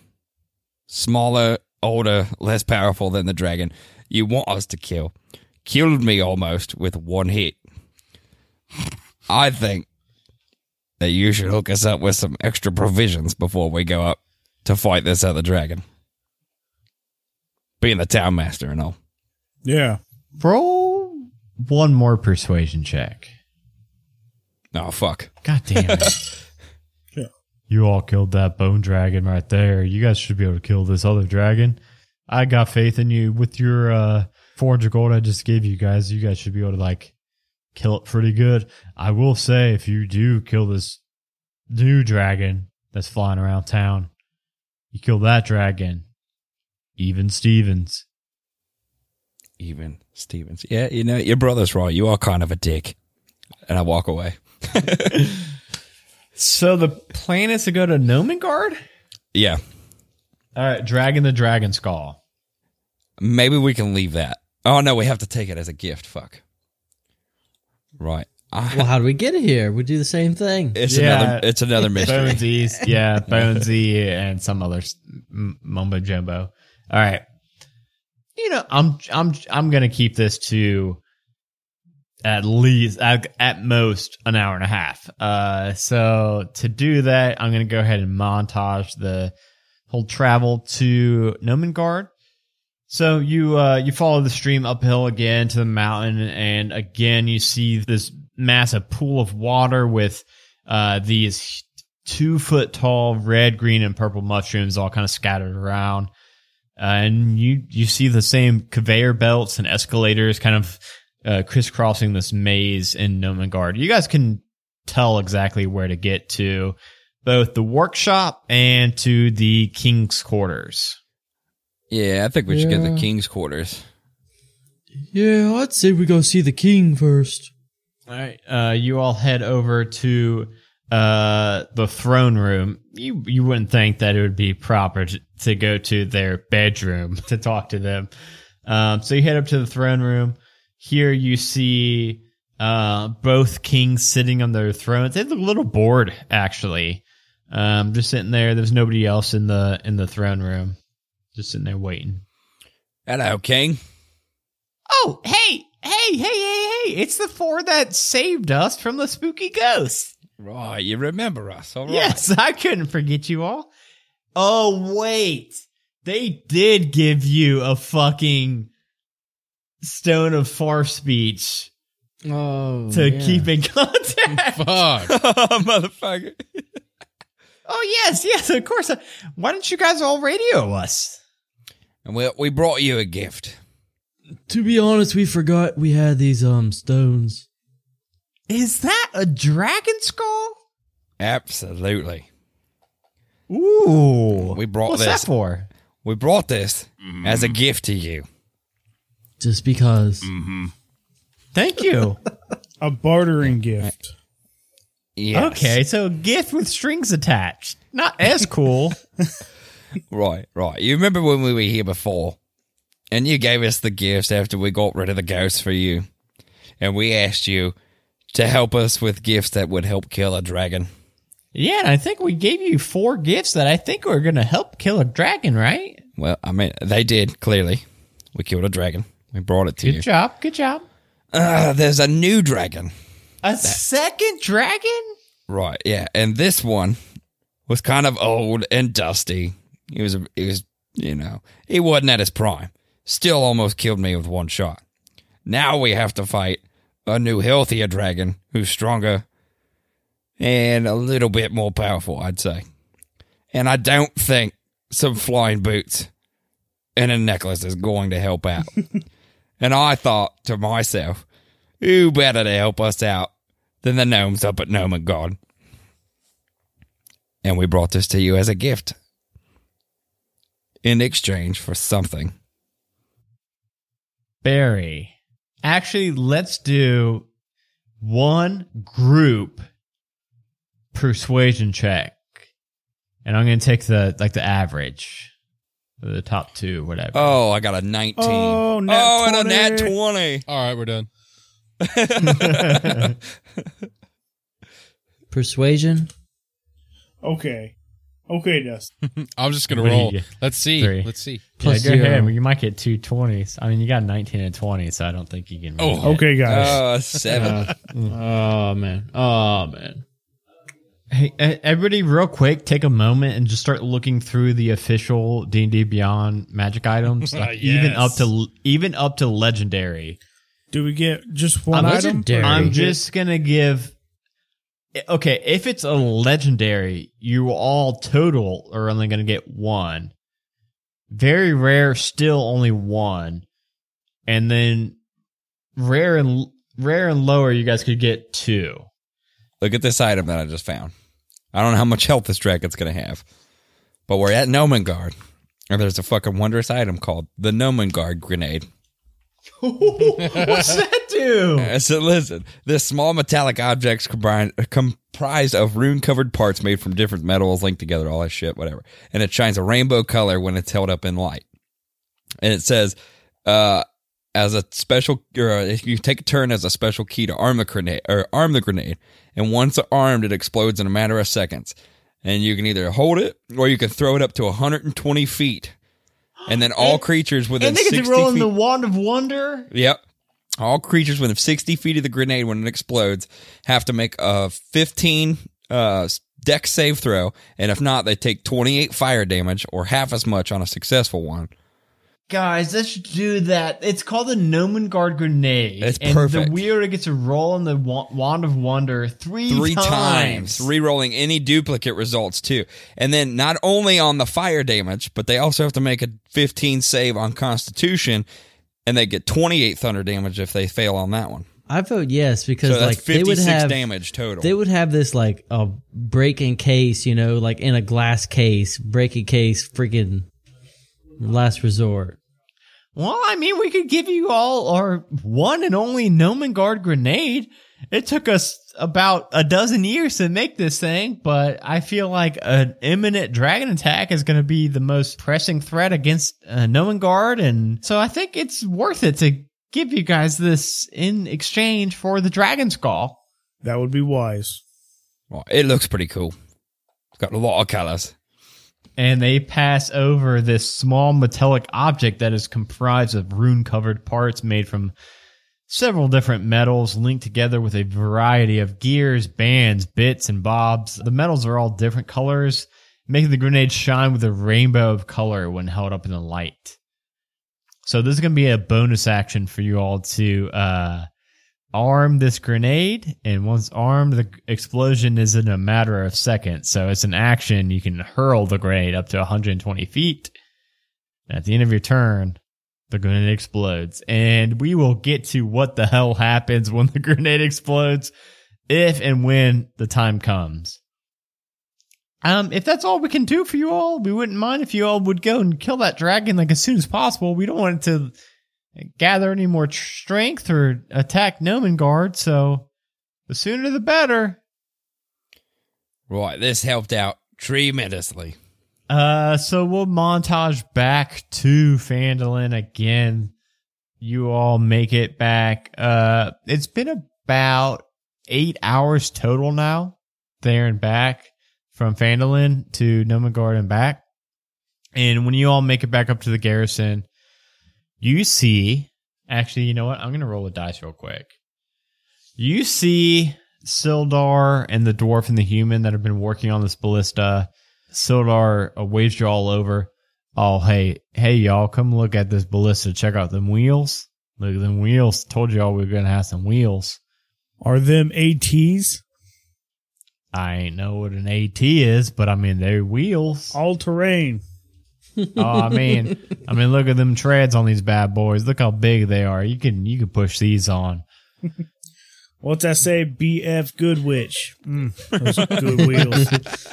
Speaker 3: smaller, older, less powerful than the dragon you want us to kill, killed me almost with one hit. I think that you should hook us up with some extra provisions before we go up to fight this other dragon. Being the town master and all.
Speaker 2: Yeah.
Speaker 1: Roll one more persuasion check.
Speaker 3: Oh fuck.
Speaker 1: God damn it.
Speaker 2: Yeah.
Speaker 1: You all killed that bone dragon right there. You guys should be able to kill this other dragon. I got faith in you with your uh, 400 gold I just gave you guys. You guys should be able to like kill it pretty good. I will say, if you do kill this new dragon that's flying around town, you kill that dragon, even Stevens.
Speaker 3: Even Stevens. Yeah, you know, your brother's right. You are kind of a dick. And I walk away.
Speaker 1: So the plan is to go to Nomengard?
Speaker 3: Yeah.
Speaker 1: All right, Dragon the Dragon Skull.
Speaker 3: Maybe we can leave that. Oh no, we have to take it as a gift. Fuck. Right. I,
Speaker 4: Well, how do we get it here? We do the same thing.
Speaker 3: it's
Speaker 1: Yeah.
Speaker 3: another it's another mystery.
Speaker 1: Bonesy's, yeah, Bonesy and some other s- m- mumbo jumbo. All right, you know, I'm I'm I'm gonna keep this to at least at, at most an hour and a half. Uh, so to do that, I'm gonna go ahead and montage the whole travel to Nomengard. So you uh, you follow the stream uphill again to the mountain, and again you see this massive pool of water with uh, these two foot tall red, green, and purple mushrooms all kind of scattered around. Uh, and you you see the same conveyor belts and escalators kind of uh, crisscrossing this maze in Nomengard. You guys can tell exactly where to get to both the workshop and to the king's quarters.
Speaker 3: Yeah, I think we should get the
Speaker 4: Yeah.
Speaker 3: king's quarters.
Speaker 4: Yeah, I'd say we go see the king first.
Speaker 1: All right. Uh, you all head over to uh, the throne room. You you wouldn't think that it would be proper to, to go to their bedroom to talk to them. Um, so you head up to the throne room. Here you see uh, both kings sitting on their thrones. They look a little bored, actually. Um, just sitting there. There's nobody else in the in the throne room. Just sitting there waiting.
Speaker 3: Hello, king.
Speaker 1: Oh, hey, hey, hey, hey, hey! It's the four that saved us from the spooky ghost.
Speaker 3: Right, you remember us, all right?
Speaker 1: Yes, I couldn't forget you all. Oh, wait. They did give you a fucking stone of far speech
Speaker 4: Oh,
Speaker 1: to keep in contact.
Speaker 5: Fuck.
Speaker 3: motherfucker.
Speaker 1: oh, yes, yes, of course. Why didn't you guys all radio us?
Speaker 3: And we we brought you a gift.
Speaker 4: To be honest, we forgot we had these um stones.
Speaker 1: Is that a dragon skull?
Speaker 3: Absolutely.
Speaker 1: Ooh.
Speaker 3: We brought
Speaker 1: What's
Speaker 3: this.
Speaker 1: that for?
Speaker 3: We brought this
Speaker 1: Mm.
Speaker 3: as a gift to you.
Speaker 4: Just because.
Speaker 3: Mm.
Speaker 1: Thank you.
Speaker 2: A bartering gift.
Speaker 3: Yes.
Speaker 1: Okay, so gift with strings attached. Not as cool.
Speaker 3: Right, right. You remember when we were here before and you gave us the gifts after we got rid of the ghosts for you. And we asked you to help us with gifts that would help kill a dragon.
Speaker 1: yeah, and I think we gave you four gifts that I think were going to help kill a dragon, right?
Speaker 3: Well, I mean, they did, clearly. We killed a dragon. We brought it to
Speaker 1: Good
Speaker 3: you.
Speaker 1: job. Good job.
Speaker 3: Ah, there's a new dragon.
Speaker 1: A second dragon?
Speaker 3: Right, yeah. And this one was kind of old and dusty. He was, he was, you know, he wasn't at his prime. Still almost killed me with one shot. Now we have to fight a new, healthier dragon who's stronger and a little bit more powerful, I'd say. And I don't think some flying boots and a necklace is going to help out. and I thought to myself, who better to help us out than the gnomes up at Noma God? And we brought this to you as a gift in exchange for something.
Speaker 1: Barry. Actually, let's do one group persuasion check. And I'm going to take the like the average, the top two, whatever.
Speaker 3: Oh, I got a 19.
Speaker 2: Oh, nat
Speaker 3: Oh, and a nat
Speaker 2: 20.
Speaker 3: 20.
Speaker 5: All right, we're done.
Speaker 4: Persuasion?
Speaker 2: Okay. Okay, Dustin.
Speaker 5: I'm just gonna
Speaker 1: What do you
Speaker 5: roll.
Speaker 1: get?
Speaker 5: Let's see.
Speaker 1: Three.
Speaker 5: Let's see.
Speaker 1: yeah,
Speaker 4: Plus
Speaker 1: go ahead.
Speaker 4: zero.
Speaker 1: You might get two 20s. I mean, you got 19 and 20, so I don't think you can.
Speaker 5: Oh,
Speaker 1: make it.
Speaker 2: Okay, guys.
Speaker 3: Uh, seven.
Speaker 4: Oh, man. Oh, man.
Speaker 1: Hey, e- everybody, real quick, take a moment and just start looking through the official D and D Beyond magic items, like even up to even up to legendary.
Speaker 2: Do we get just one
Speaker 4: I'm
Speaker 2: item?
Speaker 4: legendary.
Speaker 1: I'm just gonna give. Okay, if it's a legendary, you all total are only gonna get one. very rare, still only one, and then rare and rare and lower, you guys could get two.
Speaker 3: Look at this item that I just found. I don't know how much health this dragon's going to have, but we're at Nomengard, and there's a fucking wondrous item called the Nomengard Grenade.
Speaker 1: What's that do?
Speaker 3: Uh, So listen, this small metallic objects combined, comprised of rune-covered parts made from different metals linked together, all that shit, whatever. And it shines a rainbow color when it's held up in light. And it says, uh, as a special, or uh, if you take a turn as a special key to arm the grenade, or arm the grenade, and once armed, it explodes in a matter of seconds. And you can either hold it or you can throw it up to 120 feet. And then all creatures within
Speaker 1: And they get
Speaker 3: 60
Speaker 1: to roll in
Speaker 3: feet.
Speaker 1: the wand of wonder.
Speaker 3: Yep. All creatures within 60 feet of the grenade when it explodes have to make a 15 uh, deck save throw. And if not, they take 28 fire damage or half as much on a successful one.
Speaker 1: Guys, let's do that. It's called the Nomengard grenade.
Speaker 3: It's
Speaker 1: and
Speaker 3: perfect.
Speaker 1: The wielder gets to roll on the wa- wand of wonder three,
Speaker 3: Three times, rerolling any duplicate results too. And then not only on the fire damage, but they also have to make a 15 save on Constitution. And they get 28 thunder damage if they fail on that one.
Speaker 4: I vote yes
Speaker 3: So
Speaker 4: because
Speaker 3: that's
Speaker 4: like they would
Speaker 3: 56
Speaker 4: have
Speaker 3: damage total.
Speaker 4: they would have this like a breaking case, you know, like in a glass case, breaking case, freaking last resort.
Speaker 1: Well, I mean, we could give you all our one and only Nomengard grenade. It took us about a dozen years to make this thing, but I feel like an imminent dragon attack is going to be the most pressing threat against uh, Nomengard, and so I think it's worth it to give you guys this in exchange for the dragon skull.
Speaker 2: That would be wise.
Speaker 3: Well, it looks pretty cool. It's got a lot of colors.
Speaker 1: and they pass over this small metallic object that is comprised of rune covered parts made from several different metals linked together with a variety of gears, bands, bits, and bobs. The metals are all different colors, making the grenade shine with a rainbow of color when held up in the light. So this is going to be a bonus action for you all to uh, arm this grenade, and once armed, the explosion is in a matter of seconds. So it's an action. You can hurl the grenade up to 120 feet. And at the end of your turn, the grenade explodes, and we will get to what the hell happens when the grenade explodes, if and when the time comes. Um, if that's all we can do for you all, we wouldn't mind if you all would go and kill that dragon like as soon as possible. We don't want it to gather any more tr- strength or attack Nomengard, so the sooner the better.
Speaker 3: Right, this helped out tremendously.
Speaker 1: Uh, so we'll montage back to Fandolin again. You all make it back. Uh, it's been about eight hours total now, there and back from Fandolin to Nomengard and back. And when you all make it back up to the garrison, you see. Actually, you know what? I'm gonna roll a dice real quick. You see Sildar and the dwarf and the human that have been working on this ballista. Sildar uh, waves you all over. Oh, hey, hey, y'all, come look at this ballista. Check out them wheels. Look at them wheels. Told y'all we were gonna have some wheels.
Speaker 2: Are them ATs?
Speaker 1: I ain't know what an AT is, but I mean they're wheels.
Speaker 2: All terrain.
Speaker 1: oh, I mean, I mean, look at them treads on these bad boys. Look how big they are. You can you can push these on.
Speaker 2: What's I say? BF Goodwitch. Mm, those are good wheels.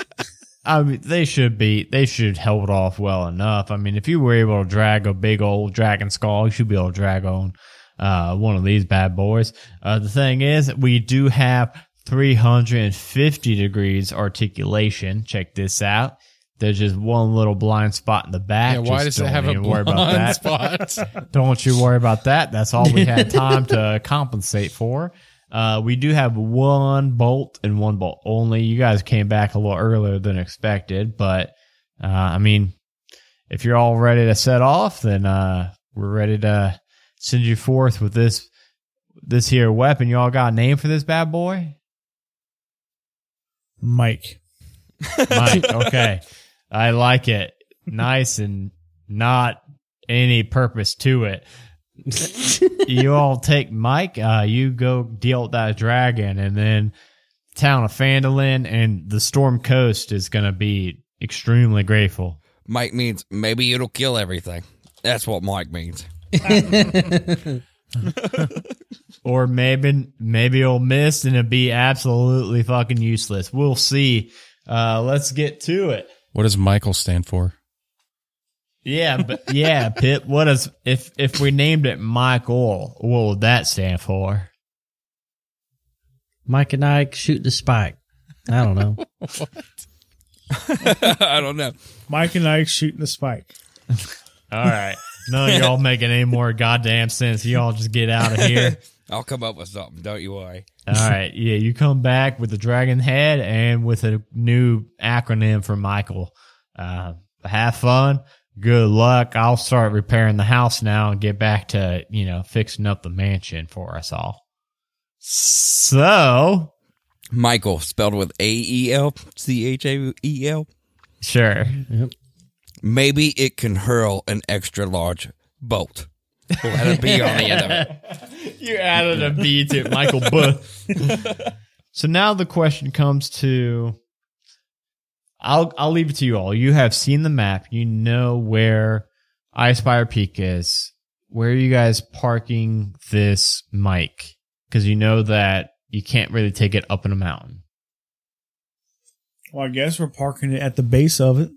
Speaker 1: I mean, they should be. They should held off well enough. I mean, if you were able to drag a big old dragon skull, you should be able to drag on uh, one of these bad boys. Uh, the thing is, we do have 350 degrees articulation. Check this out. There's just one little blind spot in the back.
Speaker 5: Yeah, why
Speaker 1: Just
Speaker 5: does it
Speaker 1: don't
Speaker 5: have a
Speaker 1: even worry about
Speaker 5: blind
Speaker 1: that.
Speaker 5: spot?
Speaker 1: Don't you worry about that. That's all we had time to compensate for. Uh, we do have one bolt and one bolt only. You guys came back a little earlier than expected, but uh, I mean, if you're all ready to set off, then uh, we're ready to send you forth with this this here weapon. You all got a name for this bad boy?
Speaker 2: Mike.
Speaker 1: Mike. Okay. I like it. Nice and not any purpose to it. you all take Mike, uh, you go deal with that dragon, and then town of Fandolin and the Storm Coast is going to be extremely grateful.
Speaker 3: Mike means maybe it'll kill everything. That's what Mike means.
Speaker 1: Or maybe maybe it'll miss and it'll be absolutely fucking useless. We'll see. Uh, let's get to it.
Speaker 5: What does Michael stand for?
Speaker 1: Yeah, but yeah, Pip. What is if if we named it Michael? What would that stand for?
Speaker 4: Mike and Ike shoot the spike. I don't know.
Speaker 3: I don't know.
Speaker 2: Mike and Ike shooting the spike.
Speaker 1: All right, none of y'all making any more goddamn sense. Y'all just get out of here.
Speaker 3: I'll come up with something. Don't you worry.
Speaker 1: All right, yeah, you come back with the dragon head and with a new acronym for Michael. Uh, have fun. Good luck. I'll start repairing the house now and get back to you know fixing up the mansion for us all. So
Speaker 3: Michael spelled with A E L C H A E L.
Speaker 1: sure,
Speaker 3: Maybe it can hurl an extra large bolt. Let it be on the end of it.
Speaker 1: You added a B to it, Michael Booth. so now the question comes to I'll I'll leave it to you all. You have seen the map. You know where I Spire Peak is. Where are you guys parking this mic? Because you know that you can't really take it up in a mountain.
Speaker 2: Well, I guess we're parking it at the base of it.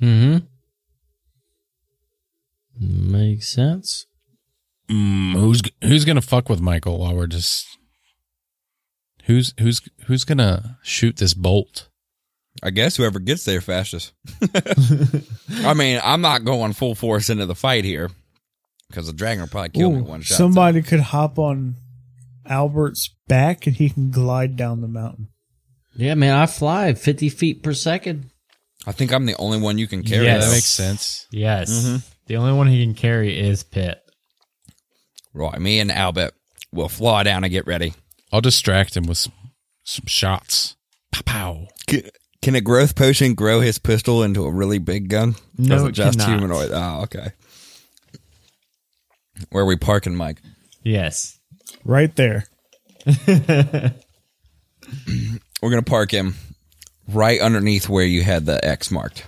Speaker 4: Mm-hmm. Makes sense.
Speaker 6: Mm,
Speaker 5: Who's who's gonna fuck with Michael while we're just who's who's who's gonna shoot this bolt?
Speaker 3: I guess whoever gets there fastest. I mean, I'm not going full force into the fight here because the dragon will probably kill me
Speaker 2: Ooh,
Speaker 3: one shot.
Speaker 2: Somebody could hop on Albert's back and he can glide down the mountain.
Speaker 4: Yeah, man, I fly 50 feet per second.
Speaker 3: I think I'm the only one you can carry.
Speaker 1: Yes.
Speaker 5: That
Speaker 3: though.
Speaker 5: makes sense.
Speaker 1: Yes.
Speaker 3: Mm-hmm.
Speaker 1: The only one he can carry is Pitt.
Speaker 3: Right, me and Albert will fly down and get ready.
Speaker 5: I'll distract him with some, some shots. Pow pow.
Speaker 3: C- Can a growth potion grow his pistol into a really big gun?
Speaker 1: No,
Speaker 3: Or is
Speaker 1: it
Speaker 3: just
Speaker 1: cannot.
Speaker 3: humanoid. Oh, okay. Where are we parking, Mike?
Speaker 1: Yes.
Speaker 2: Right there.
Speaker 3: We're gonna park him right underneath where you had the X marked,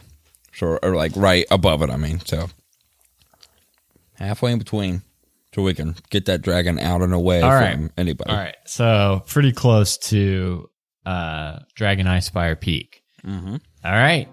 Speaker 3: so or like right above it. I mean, so halfway in between, so we can get that dragon out and away
Speaker 1: All
Speaker 3: from
Speaker 1: right.
Speaker 3: anybody.
Speaker 1: All right. So pretty close to uh Dragon Eye Spire Peak. All right.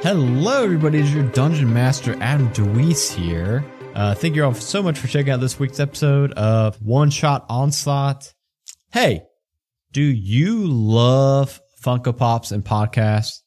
Speaker 1: Hello, everybody. It's your Dungeon Master Adam Deweese here. Uh, thank you all so much for checking out this week's episode of One Shot Onslaught. Hey, do you love Funko Pops and podcasts?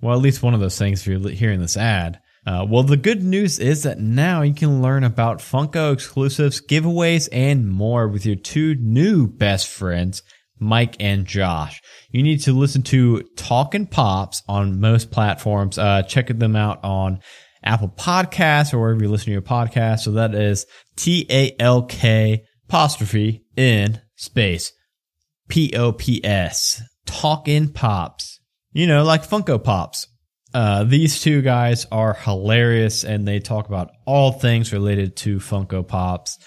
Speaker 1: Well, at least one of those things if you're li- hearing this ad. Uh, well, the good news is that now you can learn about Funko exclusives, giveaways, and more with your two new best friends, Mike and Josh. You need to listen to Talkin' Pops on most platforms. Uh, check them out on Apple Podcasts or wherever you listen to your podcast. So that is T A L K apostrophe in space P O P S. Talkin' Pops. You know, like Funko Pops. Uh, these two guys are hilarious and they talk about all things related to Funko Pops.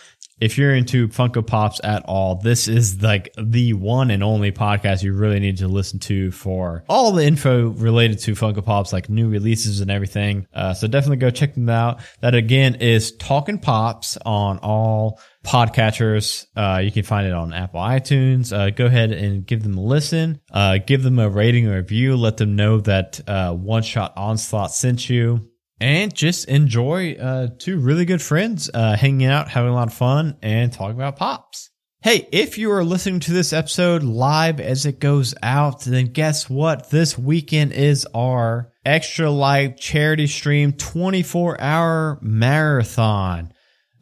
Speaker 1: if you're into Funko Pops at all, this is like the one and only podcast you really need to listen to for all the info related to Funko Pops, like new releases and everything. Uh, so definitely go check them out. That again is Talking Pops on all podcatchers. Uh, you can find it on Apple iTunes. Uh, go ahead and give them a listen. Uh, give them a rating or review. Let them know that uh, One Shot Onslaught sent you and just enjoy uh, two really good friends uh, hanging out, having a lot of fun, and talking about pops. Hey, if you are listening to this episode live as it goes out, then guess what? This weekend is our Extra Life charity stream 24 hour marathon.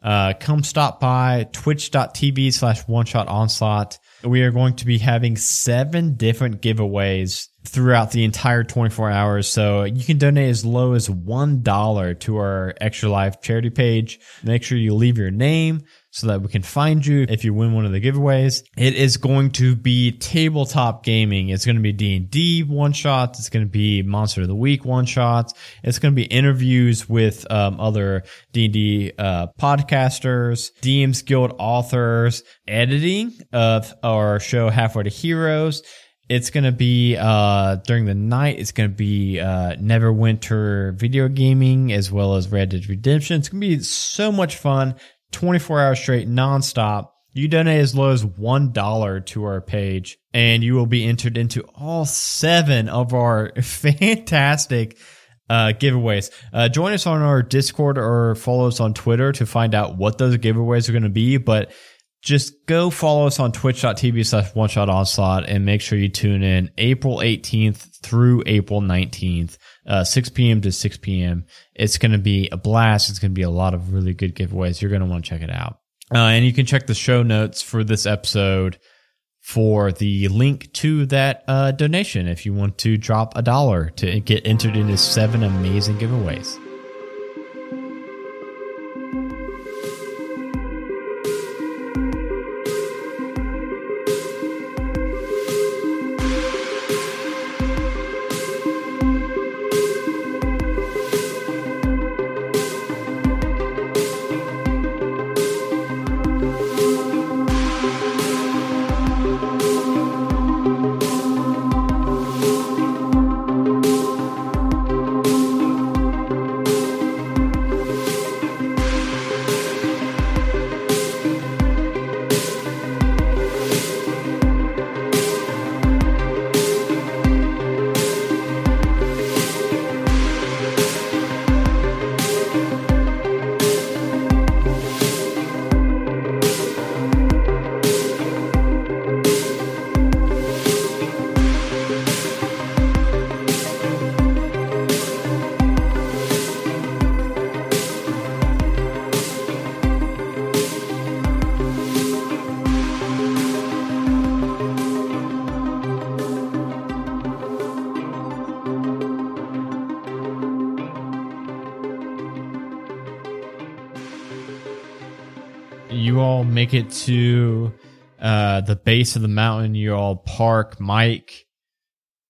Speaker 1: Uh, come stop by twitch.tv slash one shot onslaught. We are going to be having seven different giveaways throughout the entire 24 hours. So you can donate as low as $1 to our Extra Life charity page. Make sure you leave your name so that we can find you if you win one of the giveaways. It is going to be tabletop gaming. It's going to be D&D one shots. It's going to be Monster of the Week one shots. It's going to be interviews with um, other D&D uh, podcasters, DMs Guild authors, editing of our show Halfway to Heroes. It's gonna be uh, during the night. It's gonna be uh, Neverwinter video gaming as well as Red Dead Redemption. It's gonna be so much fun, twenty four hours straight, nonstop. You donate as low as one dollar to our page, and you will be entered into all seven of our fantastic uh, giveaways. Uh, join us on our Discord or follow us on Twitter to find out what those giveaways are going to be. But just go follow us on twitch.tv slash one shot onslaught and make sure you tune in April 18th through April 19th, uh, 6 p.m. to 6 p.m. It's going to be a blast. It's going to be a lot of really good giveaways. You're going to want to check it out. Uh, and you can check the show notes for this episode for the link to that uh, donation if you want to drop a dollar to get entered into seven amazing giveaways. you all make it to uh, the base of the mountain. You all park Mike,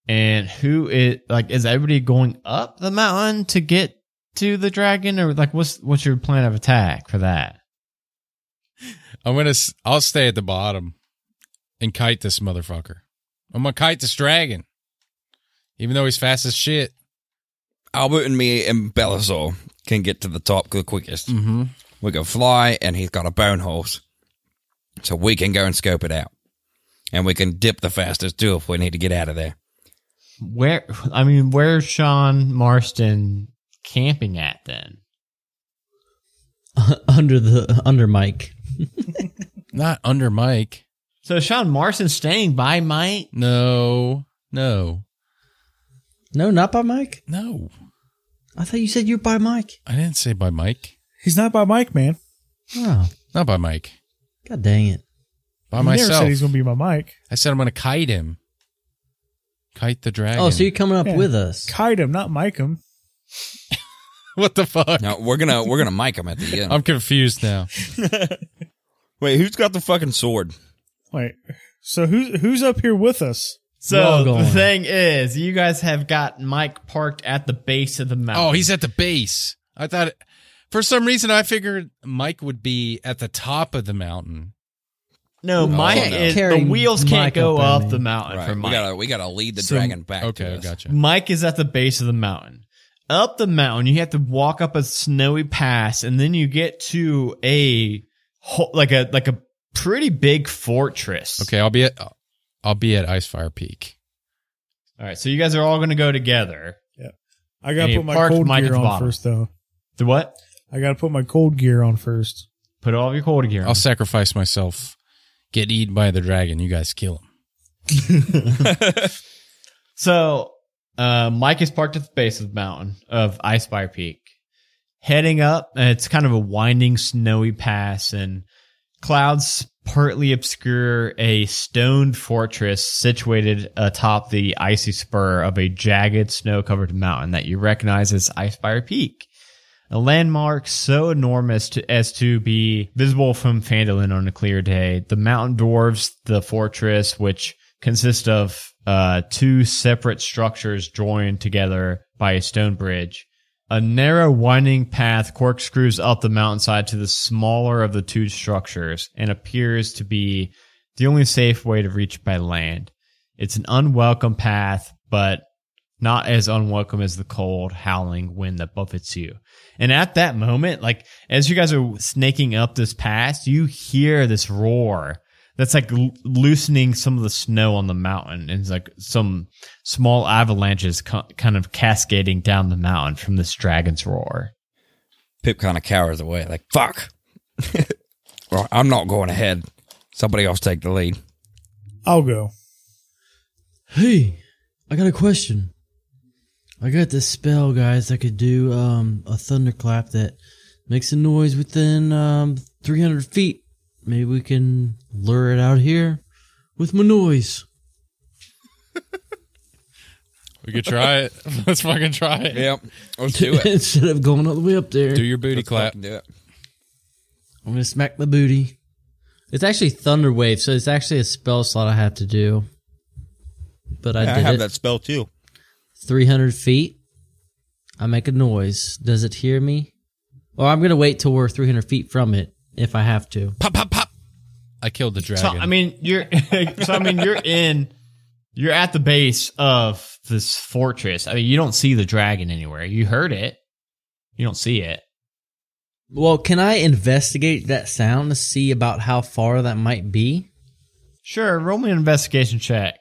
Speaker 1: and who is like is everybody going up the mountain to get to the dragon, or like what's what's your plan of attack for that?
Speaker 5: I'm gonna. s- I'll stay at the bottom and kite this motherfucker. I'm gonna kite this dragon, even though he's fast as shit.
Speaker 3: Albert and me and Belazor can get to the top the quickest.
Speaker 5: Mm-hmm.
Speaker 3: We can fly, and he's got a bone horse. So we can go and scope it out. And we can dip the fastest too if we need to get out of there.
Speaker 1: Where I mean, where's Sean Marston camping at then?
Speaker 4: under the under Mike.
Speaker 5: Not under Mike.
Speaker 1: So Sean Marston's staying by Mike.
Speaker 5: No, no,
Speaker 4: No, not by Mike.
Speaker 5: no.
Speaker 4: I thought you said you're by Mike.
Speaker 5: I didn't say by Mike.
Speaker 2: He's not by Mike, man.
Speaker 4: Oh,
Speaker 5: Not by Mike.
Speaker 4: god dang it!
Speaker 5: By
Speaker 2: He
Speaker 5: myself.
Speaker 2: never said he's gonna be my Mike.
Speaker 5: I said I'm gonna kite him. Kite the dragon.
Speaker 4: Oh, so you're coming up
Speaker 2: Yeah.
Speaker 4: with us?
Speaker 2: Kite him, not Mike him.
Speaker 5: what the fuck?
Speaker 3: No, we're gonna we're gonna mic him at the end.
Speaker 5: I'm confused now.
Speaker 3: Wait, who's got the fucking sword?
Speaker 2: Wait, so who's who's up here with us?
Speaker 4: We're
Speaker 1: So
Speaker 4: all
Speaker 1: the
Speaker 4: going.
Speaker 1: thing is, you
Speaker 3: Oh,
Speaker 1: guys have got Mike parked at the base of the mountain.
Speaker 5: Oh, he's at the base. I thought For some reason, I figured Mike would be at the top of the mountain.
Speaker 1: No, Mike.
Speaker 3: Oh, no.
Speaker 1: Is, the
Speaker 4: Carrying
Speaker 1: wheels can't
Speaker 4: Mike
Speaker 1: go
Speaker 4: up there,
Speaker 1: up,
Speaker 4: man.
Speaker 1: the mountain
Speaker 3: Right.
Speaker 1: for
Speaker 3: We
Speaker 1: Mike.
Speaker 3: gotta we gotta lead the
Speaker 5: So-
Speaker 3: dragon back. to
Speaker 5: Okay,
Speaker 3: us.
Speaker 5: gotcha.
Speaker 1: Mike is at the base of the mountain. Up the mountain, you have to walk up a snowy pass, and then you get to a ho- like a like a pretty big fortress.
Speaker 5: Okay, I'll be at I'll be at Icefire Peak.
Speaker 1: All right, so you guys are all going to go together.
Speaker 2: I
Speaker 1: And
Speaker 2: gotta
Speaker 1: you
Speaker 2: put my
Speaker 1: parked
Speaker 2: cold
Speaker 1: Mike at
Speaker 2: gear
Speaker 1: the
Speaker 2: on
Speaker 1: bottom.
Speaker 2: first, though.
Speaker 1: The what?
Speaker 2: I gotta put my cold gear on first.
Speaker 1: Put all of your cold gear on.
Speaker 5: I'll sacrifice myself. Get eaten by the dragon. You guys kill him.
Speaker 1: So uh, Mike is parked at the base of the mountain of Icefire Peak, heading up. And it's kind of a winding, snowy pass, and clouds partly obscure a stone fortress situated atop the icy spur of a jagged, snow-covered mountain that you recognize as Icefire Peak. A landmark so enormous to, as to be visible from Phandalin on a clear day. The mountain dwarves the fortress, which consists of uh, two separate structures joined together by a stone bridge. A narrow, winding path corkscrews up the mountainside to the smaller of the two structures and appears to be the only safe way to reach by land. It's an unwelcome path, but not as unwelcome as the cold, howling wind that buffets you. And at that moment, like as you guys are snaking up this pass, you hear this roar that's like l- loosening some of the snow on the mountain, and it's like some small avalanches co- kind of cascading down the mountain from this dragon's roar.
Speaker 3: Pip kind of cowers away, like fuck. Well, I'm not going ahead. Somebody else take the lead.
Speaker 2: I'll go.
Speaker 4: Hey, I got a question. I got this spell, guys, that could do um, a thunderclap that makes a noise within um, 300 feet. Maybe we can lure it out here with my noise.
Speaker 5: We could try it. Let's fucking try it.
Speaker 3: Yep, let's do it.
Speaker 4: Instead of going all the way up there,
Speaker 5: Do your booty
Speaker 3: Let's
Speaker 5: clap.
Speaker 3: fucking do it.
Speaker 4: I'm going to smack my booty. It's actually Thunder Wave, so it's actually a spell slot I have to do. But I
Speaker 3: Yeah, I
Speaker 4: did
Speaker 3: have
Speaker 4: it.
Speaker 3: that spell too.
Speaker 4: 300 feet. I make a noise. Does it hear me? Or I'm going to wait till we're 300 feet from it if I have to.
Speaker 5: Pop, pop, pop. I killed the dragon.
Speaker 1: So I mean, you're so I mean you're in you're at the base of this fortress. I mean, you don't see the dragon anywhere. You heard it, you don't see it.
Speaker 4: Well, can I investigate that sound to see about how far that might be?
Speaker 1: Sure, roll me an investigation check.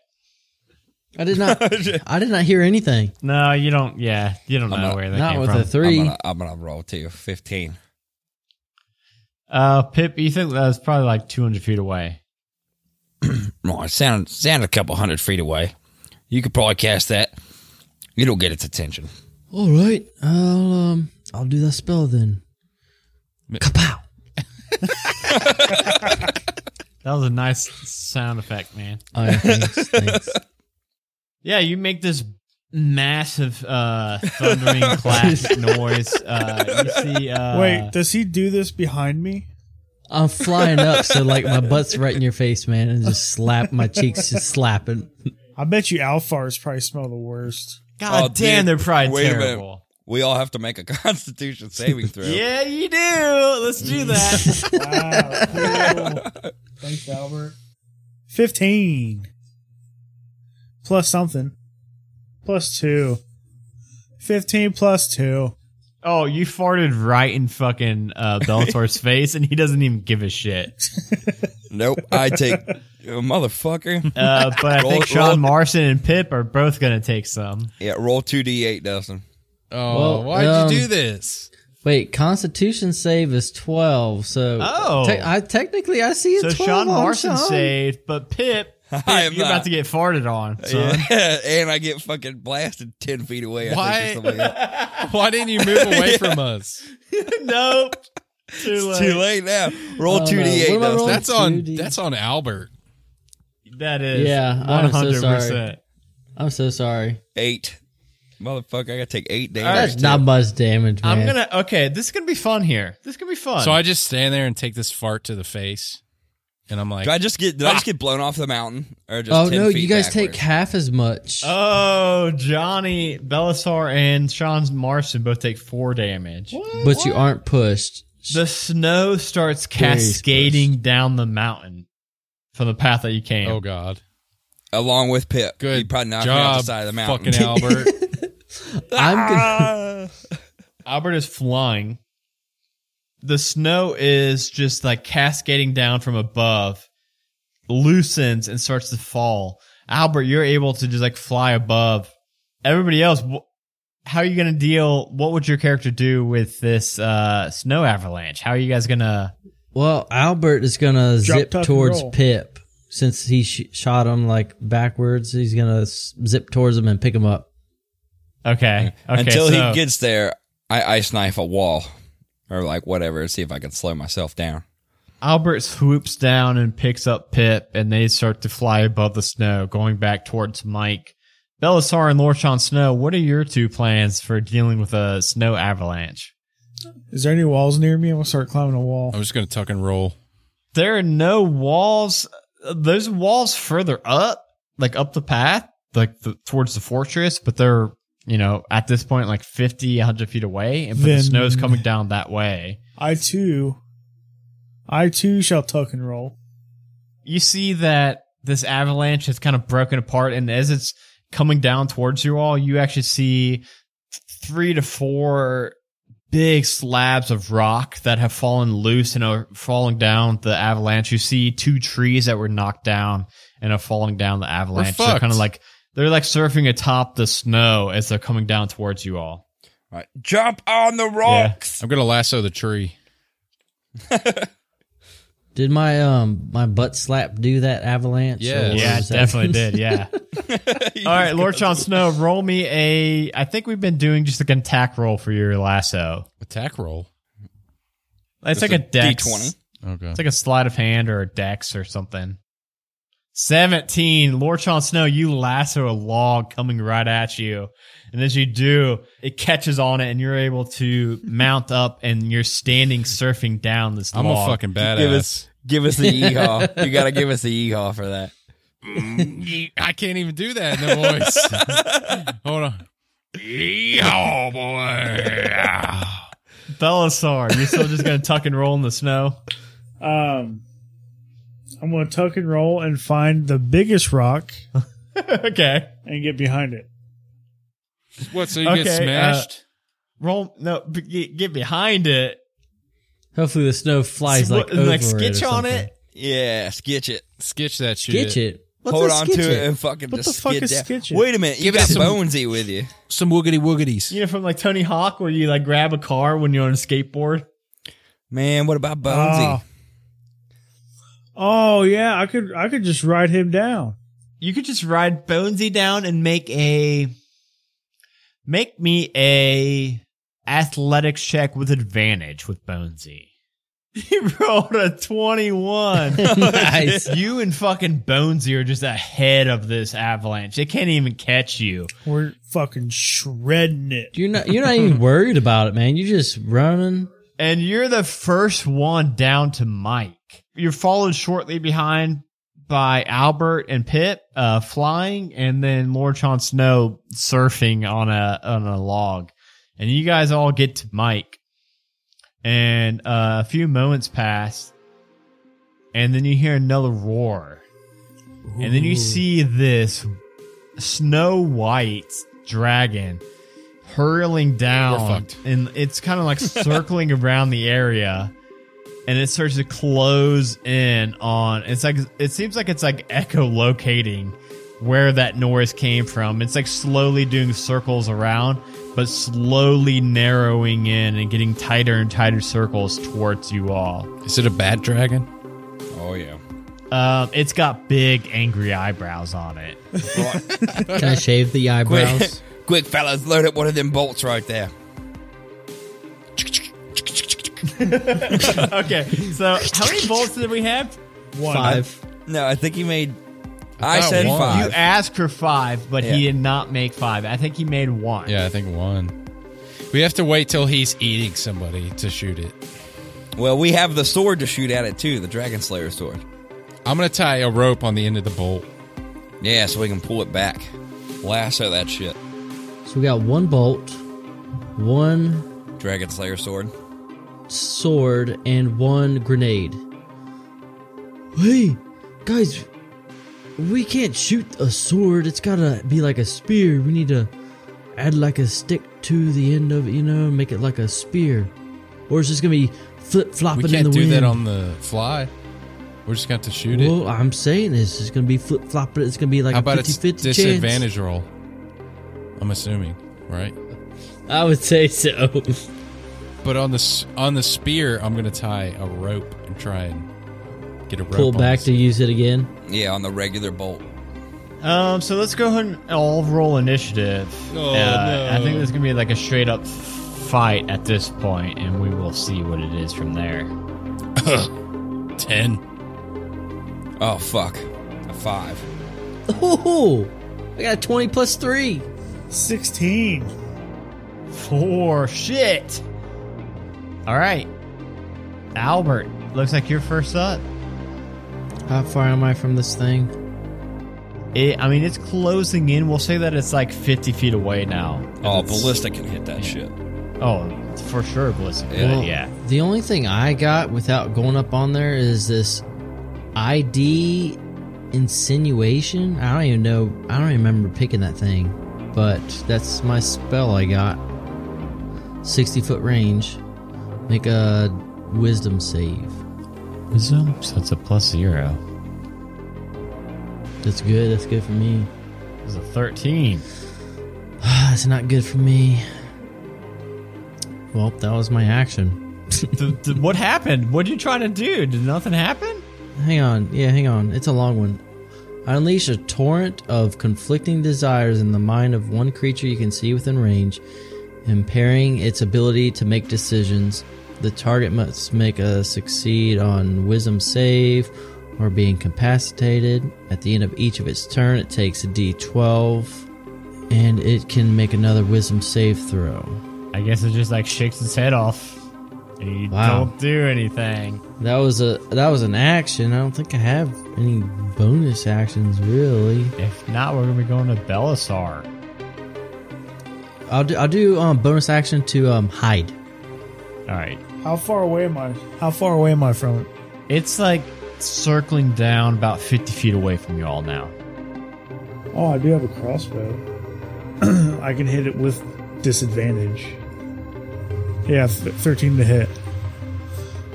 Speaker 4: I did not. I did not hear anything.
Speaker 1: No, you don't. Yeah, you don't know
Speaker 3: not-
Speaker 1: where that
Speaker 4: Not
Speaker 1: came
Speaker 4: with
Speaker 1: from.
Speaker 4: a
Speaker 3: I'm
Speaker 4: 3
Speaker 3: gonna, I'm gonna roll too. Fifteen.
Speaker 1: uh, Pip, you think that's probably like 200 feet away.
Speaker 3: No, it sounded sounded a couple hundred feet away. You could probably cast that. It'll get its attention.
Speaker 4: All right. I'll um. I'll do that spell then. Kapow!
Speaker 1: That was a nice sound effect, man.
Speaker 4: Oh, yeah, thanks, thanks.
Speaker 1: Yeah, you make this massive uh, thundering clap noise. Uh, you see, uh,
Speaker 2: Wait, does he do this behind me?
Speaker 4: I'm flying up, so like my butt's right in your face, man, and just slap my cheeks, just slapping.
Speaker 2: I bet you Alfars probably smell the worst.
Speaker 1: God
Speaker 3: Oh,
Speaker 1: damn,
Speaker 3: dude,
Speaker 1: they're probably
Speaker 3: wait a minute.
Speaker 1: terrible.
Speaker 3: We all have to make a Constitution saving throw.
Speaker 1: Yeah, you do. Let's do that.
Speaker 2: Wow. cool. Thanks, Albert. 15. Plus something. Plus 2. 15 plus 2.
Speaker 1: oh, you farted right in fucking uh, Bellator's face, and he doesn't even give a shit.
Speaker 3: Nope. I take motherfucker.
Speaker 1: Uh, but I
Speaker 3: Roll-
Speaker 1: think
Speaker 3: roll-
Speaker 1: Sean Marson and Pip are both going to take some.
Speaker 3: Yeah, roll two d eight, Dustin.
Speaker 5: oh,
Speaker 4: Well,
Speaker 5: why'd
Speaker 4: um,
Speaker 5: you do this?
Speaker 4: Wait, Constitution save is twelve, so
Speaker 1: Oh.
Speaker 4: te- I technically I see a
Speaker 1: So
Speaker 4: twelve.
Speaker 1: Sean
Speaker 4: on
Speaker 1: Marson
Speaker 4: Sean.
Speaker 1: saved, but Pip, Pip,
Speaker 3: I am
Speaker 1: you're
Speaker 3: not.
Speaker 1: about to get farted on, son.
Speaker 3: Yeah, and I get fucking blasted ten feet away. I
Speaker 5: Why?
Speaker 3: Think or something like that.
Speaker 5: Why didn't you move away from us?
Speaker 1: nope. Too late.
Speaker 3: Too late now. Roll
Speaker 4: Oh,
Speaker 3: two d
Speaker 4: no.
Speaker 3: eight,
Speaker 4: What am I
Speaker 3: Dustin.
Speaker 4: rolling?
Speaker 5: That's on
Speaker 4: 2D.
Speaker 5: that's on Albert.
Speaker 1: That is
Speaker 4: Yeah, I am so
Speaker 1: 100%.
Speaker 4: sorry. I'm so sorry.
Speaker 3: Eight. Motherfucker, I gotta take eight
Speaker 1: Alright.
Speaker 3: damage.
Speaker 4: That's not much damage, man.
Speaker 1: I'm going to Okay, this is going to be fun here. This is going to be fun.
Speaker 5: So I just stand there and take this fart to the face. And I'm like,
Speaker 3: Do I just get? Did I just get blown off the mountain? Or just
Speaker 4: Oh
Speaker 3: 10
Speaker 4: no,
Speaker 3: feet
Speaker 4: you guys
Speaker 3: backwards?
Speaker 4: take half as much.
Speaker 1: Oh, Johnny Belisar and Sean Marston both take four damage.
Speaker 4: but you aren't pushed.
Speaker 1: The snow starts cascading down the mountain from the path that you came.
Speaker 5: oh God.
Speaker 3: along with Pip.
Speaker 5: Good
Speaker 3: you probably knocked me off
Speaker 5: job,
Speaker 3: the side of the mountain.
Speaker 5: fucking Albert.
Speaker 4: I'm
Speaker 1: Ah.
Speaker 4: gonna,
Speaker 1: Albert is flying. The snow is just like cascading down from above, loosens and starts to fall. Albert, you're able to just like fly above. Everybody else, wh- how are you going to deal? What would your character do with this uh, snow avalanche? How are you guys going to?
Speaker 4: well, Albert is gonna
Speaker 2: Drop,
Speaker 4: zip
Speaker 2: tuck, and
Speaker 4: towards
Speaker 2: roll.
Speaker 4: Pip since he sh shot him like backwards. He's gonna s- zip towards him and pick him up.
Speaker 1: Okay. Okay.
Speaker 3: Until
Speaker 1: so-
Speaker 3: he gets there, I ice knife a wall or like whatever and see if I can slow myself down.
Speaker 1: Albert swoops down and picks up Pip, and they start to fly above the snow, going back towards Mike. Belisar and Lorchon Snow, what are your two plans for dealing with a snow avalanche?
Speaker 2: Is there any walls near me? I'm gonna start climbing a wall.
Speaker 5: I'm just gonna tuck and roll.
Speaker 1: There are no walls. There's walls further up, like up the path, like the, towards the fortress, but they're, you know, at this point, like 50, 100 feet away, and but the
Speaker 2: Then-
Speaker 1: snow's coming down that way.
Speaker 2: I too, I too shall tuck and roll.
Speaker 1: you see that this avalanche has kind of broken apart, and as it's coming down towards you all, you actually see three to four big slabs of rock that have fallen loose and are falling down the avalanche. You see two trees that were knocked down and are falling down the avalanche. They're
Speaker 5: fucked.
Speaker 1: kind of like they're like surfing atop the snow as they're coming down towards you all.
Speaker 3: All right, jump on the rocks.
Speaker 5: I'm gonna lasso the tree.
Speaker 4: Did my um my butt slap do that avalanche?
Speaker 5: Yeah.
Speaker 4: or what
Speaker 1: Yeah, it
Speaker 4: was that?
Speaker 1: definitely did. Yeah. All right, Lord Sean Snow, roll me a. I think we've been doing just like an attack roll for your lasso.
Speaker 5: Attack roll.
Speaker 1: It's
Speaker 3: Just
Speaker 1: like a,
Speaker 3: a
Speaker 1: dex.
Speaker 3: D20.
Speaker 5: Okay.
Speaker 1: It's like a sleight of hand or a dex or something. 17. Lord Sean Snow, you lasso a log coming right at you. And as you do, it catches on it and you're able to mount up and you're standing surfing down this
Speaker 5: I'm
Speaker 1: log.
Speaker 5: a fucking
Speaker 3: Give
Speaker 5: badass.
Speaker 3: us, give us the yeehaw. you got to give us the yeehaw for that.
Speaker 5: Mm, I can't even do that in the voice. Hold on. Yeehaw, boy.
Speaker 1: Belisar, you're still just going to tuck and roll in the snow?
Speaker 2: Um, I'm gonna tuck and roll and find the biggest rock
Speaker 1: okay.
Speaker 2: and get behind it.
Speaker 5: What? So you
Speaker 1: Okay,
Speaker 5: get
Speaker 1: uh,
Speaker 5: smashed?
Speaker 1: Roll, no, b- get, get behind it.
Speaker 4: Hopefully the snow flies like, over
Speaker 1: like
Speaker 4: it or
Speaker 1: skitch on
Speaker 4: something.
Speaker 1: it.
Speaker 3: Yeah, skitch it.
Speaker 5: Sketch that shit.
Speaker 4: Skitch it. What's
Speaker 3: Hold
Speaker 4: a
Speaker 3: on
Speaker 4: skitch
Speaker 3: to it
Speaker 4: it?
Speaker 3: and fucking
Speaker 2: What
Speaker 3: just
Speaker 2: the fuck
Speaker 3: skid
Speaker 2: is
Speaker 3: down.
Speaker 2: skitch it?
Speaker 3: Wait a minute. You
Speaker 5: Give it
Speaker 3: got
Speaker 5: some-
Speaker 3: Bonesy with you.
Speaker 5: Some woogity woogities.
Speaker 1: You know, from like Tony Hawk, where you like grab a car when you're on a skateboard.
Speaker 3: Man, what about Bonesy?
Speaker 2: Ah. Oh yeah, I could I could just ride him down.
Speaker 1: You could just ride Bonesy down and make a make me a athletics check with advantage with Bonesy. He rolled a twenty-one.
Speaker 4: nice.
Speaker 1: you and fucking Bonesy are just ahead of this avalanche. They can't even catch you.
Speaker 2: We're fucking shredding it.
Speaker 4: You're not you're not even worried about it, man. You're just running.
Speaker 1: And you're the first one down to Mike. You're followed shortly behind by Albert and Pip, uh, flying, and then Lord Chon Snow surfing on a on a log. And you guys all get to Mike. And uh, a few moments pass, and then you hear another roar. And then you see this snow white dragon hurling
Speaker 5: We're
Speaker 1: down
Speaker 5: fucked.
Speaker 1: and it's kind of like circling around the area and it starts to close in on it's like it seems like it's like echolocating where that noise came from it's like slowly doing circles around but slowly narrowing in and getting tighter and tighter circles towards you all
Speaker 5: Is it a bat dragon?
Speaker 3: Oh, yeah.
Speaker 1: um, it's got big angry eyebrows on it
Speaker 4: Can I shave the
Speaker 3: Quick,
Speaker 4: eyebrows?
Speaker 3: quick, fellas, load up one of them bolts right there.
Speaker 1: okay so how many bolts did we have
Speaker 2: One.
Speaker 4: Five.
Speaker 3: No, I think he made. I,
Speaker 5: thought
Speaker 3: said
Speaker 5: one.
Speaker 1: You
Speaker 3: five.
Speaker 1: asked for five, but he
Speaker 3: Yeah.
Speaker 1: did not make five. I think he made one.
Speaker 5: Yeah, I think one. We have to wait till he's eating somebody to shoot it.
Speaker 3: well, we have the sword to shoot at it too, the Dragon Slayer sword.
Speaker 5: I'm gonna tie a rope on the end of the bolt.
Speaker 3: Yeah, so we can pull it back. Lasso that shit.
Speaker 4: So we got one bolt, one
Speaker 3: Dragon Slayer sword.
Speaker 4: sword, and one grenade. Hey, guys, we can't shoot a sword. It's gotta be like a spear. We need to add like a stick to the end of it, you know, make it like a spear. Or it's just gonna be flip
Speaker 5: We
Speaker 4: flopping in
Speaker 5: can't
Speaker 4: the
Speaker 5: do
Speaker 4: wind.
Speaker 5: that on the fly. We're just gonna have to shoot it.
Speaker 4: Well, I'm saying this. It's gonna be flip flopping. It's gonna be like a
Speaker 5: How about
Speaker 4: 50 50
Speaker 5: its
Speaker 4: chance.
Speaker 5: disadvantage roll? I'm assuming, right?
Speaker 4: I would say so.
Speaker 5: But on the s- on the spear, I'm gonna tie a rope and try and get a rope.
Speaker 4: Pull
Speaker 5: on
Speaker 4: back
Speaker 5: this.
Speaker 4: to use it again.
Speaker 3: Yeah, on the regular bolt.
Speaker 1: Um, so let's go ahead and all roll initiative. Uh,
Speaker 5: Oh,
Speaker 1: I
Speaker 5: no.
Speaker 1: think there's gonna be like a straight up fight at this point, and we will see what it is from there.
Speaker 6: Ten.
Speaker 3: Oh, fuck. A five.
Speaker 4: Ooh, Oh, I got a 20 plus 3.
Speaker 2: 16.
Speaker 1: Four shit. All right, Albert. Looks like you're first up.
Speaker 4: How far am I from this thing?
Speaker 1: It, I mean, it's closing in. We'll say that it's like 50 feet away now.
Speaker 3: Oh,
Speaker 1: It's-
Speaker 3: Ballista can hit that shit.
Speaker 1: Oh, for sure, ballistic.
Speaker 3: Yeah.
Speaker 1: Yeah. yeah.
Speaker 4: The only thing I got without going up on there is this ID insinuation. I don't even know. I don't remember picking that thing, but that's my spell I got. 60 foot range. Make a wisdom save.
Speaker 1: Wisdom. So it's a plus zero.
Speaker 4: That's good. That's good for me.
Speaker 1: It's a 13.
Speaker 4: That's not good for me. Well, that was my action.
Speaker 1: Th- th- what happened? What are you trying to do? Did nothing happen?
Speaker 4: Hang on. Yeah, hang on. It's a long one. I unleash a torrent of conflicting desires in the mind of one creature you can see within range, impairing its ability to make decisions. The target must make a succeed on wisdom save or be incapacitated. At the end of each of its turn, it takes a d12 and it can make another wisdom save throw.
Speaker 1: I guess it just like shakes its head off. And you
Speaker 4: Wow.
Speaker 1: don't do anything.
Speaker 4: That was a that was an action. I don't think I have any bonus actions really.
Speaker 1: If not, we're gonna be going to Belisar.
Speaker 4: I'll do, I'll do um, bonus action to um, hide.
Speaker 1: All right.
Speaker 2: How far away am I? How far away am I from it?
Speaker 1: It's like circling down about 50 feet away from you all now.
Speaker 2: Oh, I do have a crossbow. I can hit it with disadvantage. Yeah, th- 13 to hit.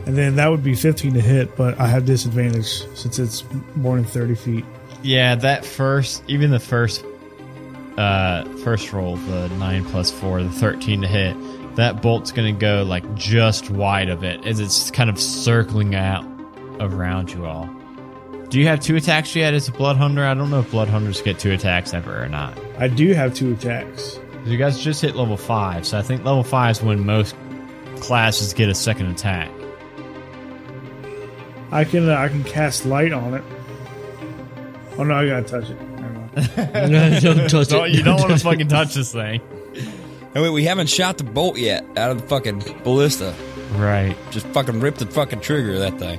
Speaker 2: And then that would be 15 to hit, but I have disadvantage since it's more than 30 feet.
Speaker 1: Yeah, that first, even the first, uh, first roll, the nine plus four, the thirteen to hit, that bolt's gonna go like just wide of it as it's kind of circling out around you all. Do you have two attacks yet as a blood hunter? I don't know if blood hunters get two attacks ever or not.
Speaker 2: I do have two attacks.
Speaker 1: You guys just hit level five, so I think level five is when most classes get a second attack.
Speaker 2: I can uh, I can cast light on it. Oh no, I gotta touch it. Never mind.
Speaker 4: No, don't touch
Speaker 1: So you don't want to fucking touch this thing,
Speaker 3: And wait, we haven't shot the bolt yet out of the fucking ballista.
Speaker 1: right?
Speaker 3: Just fucking rip the fucking trigger of that thing.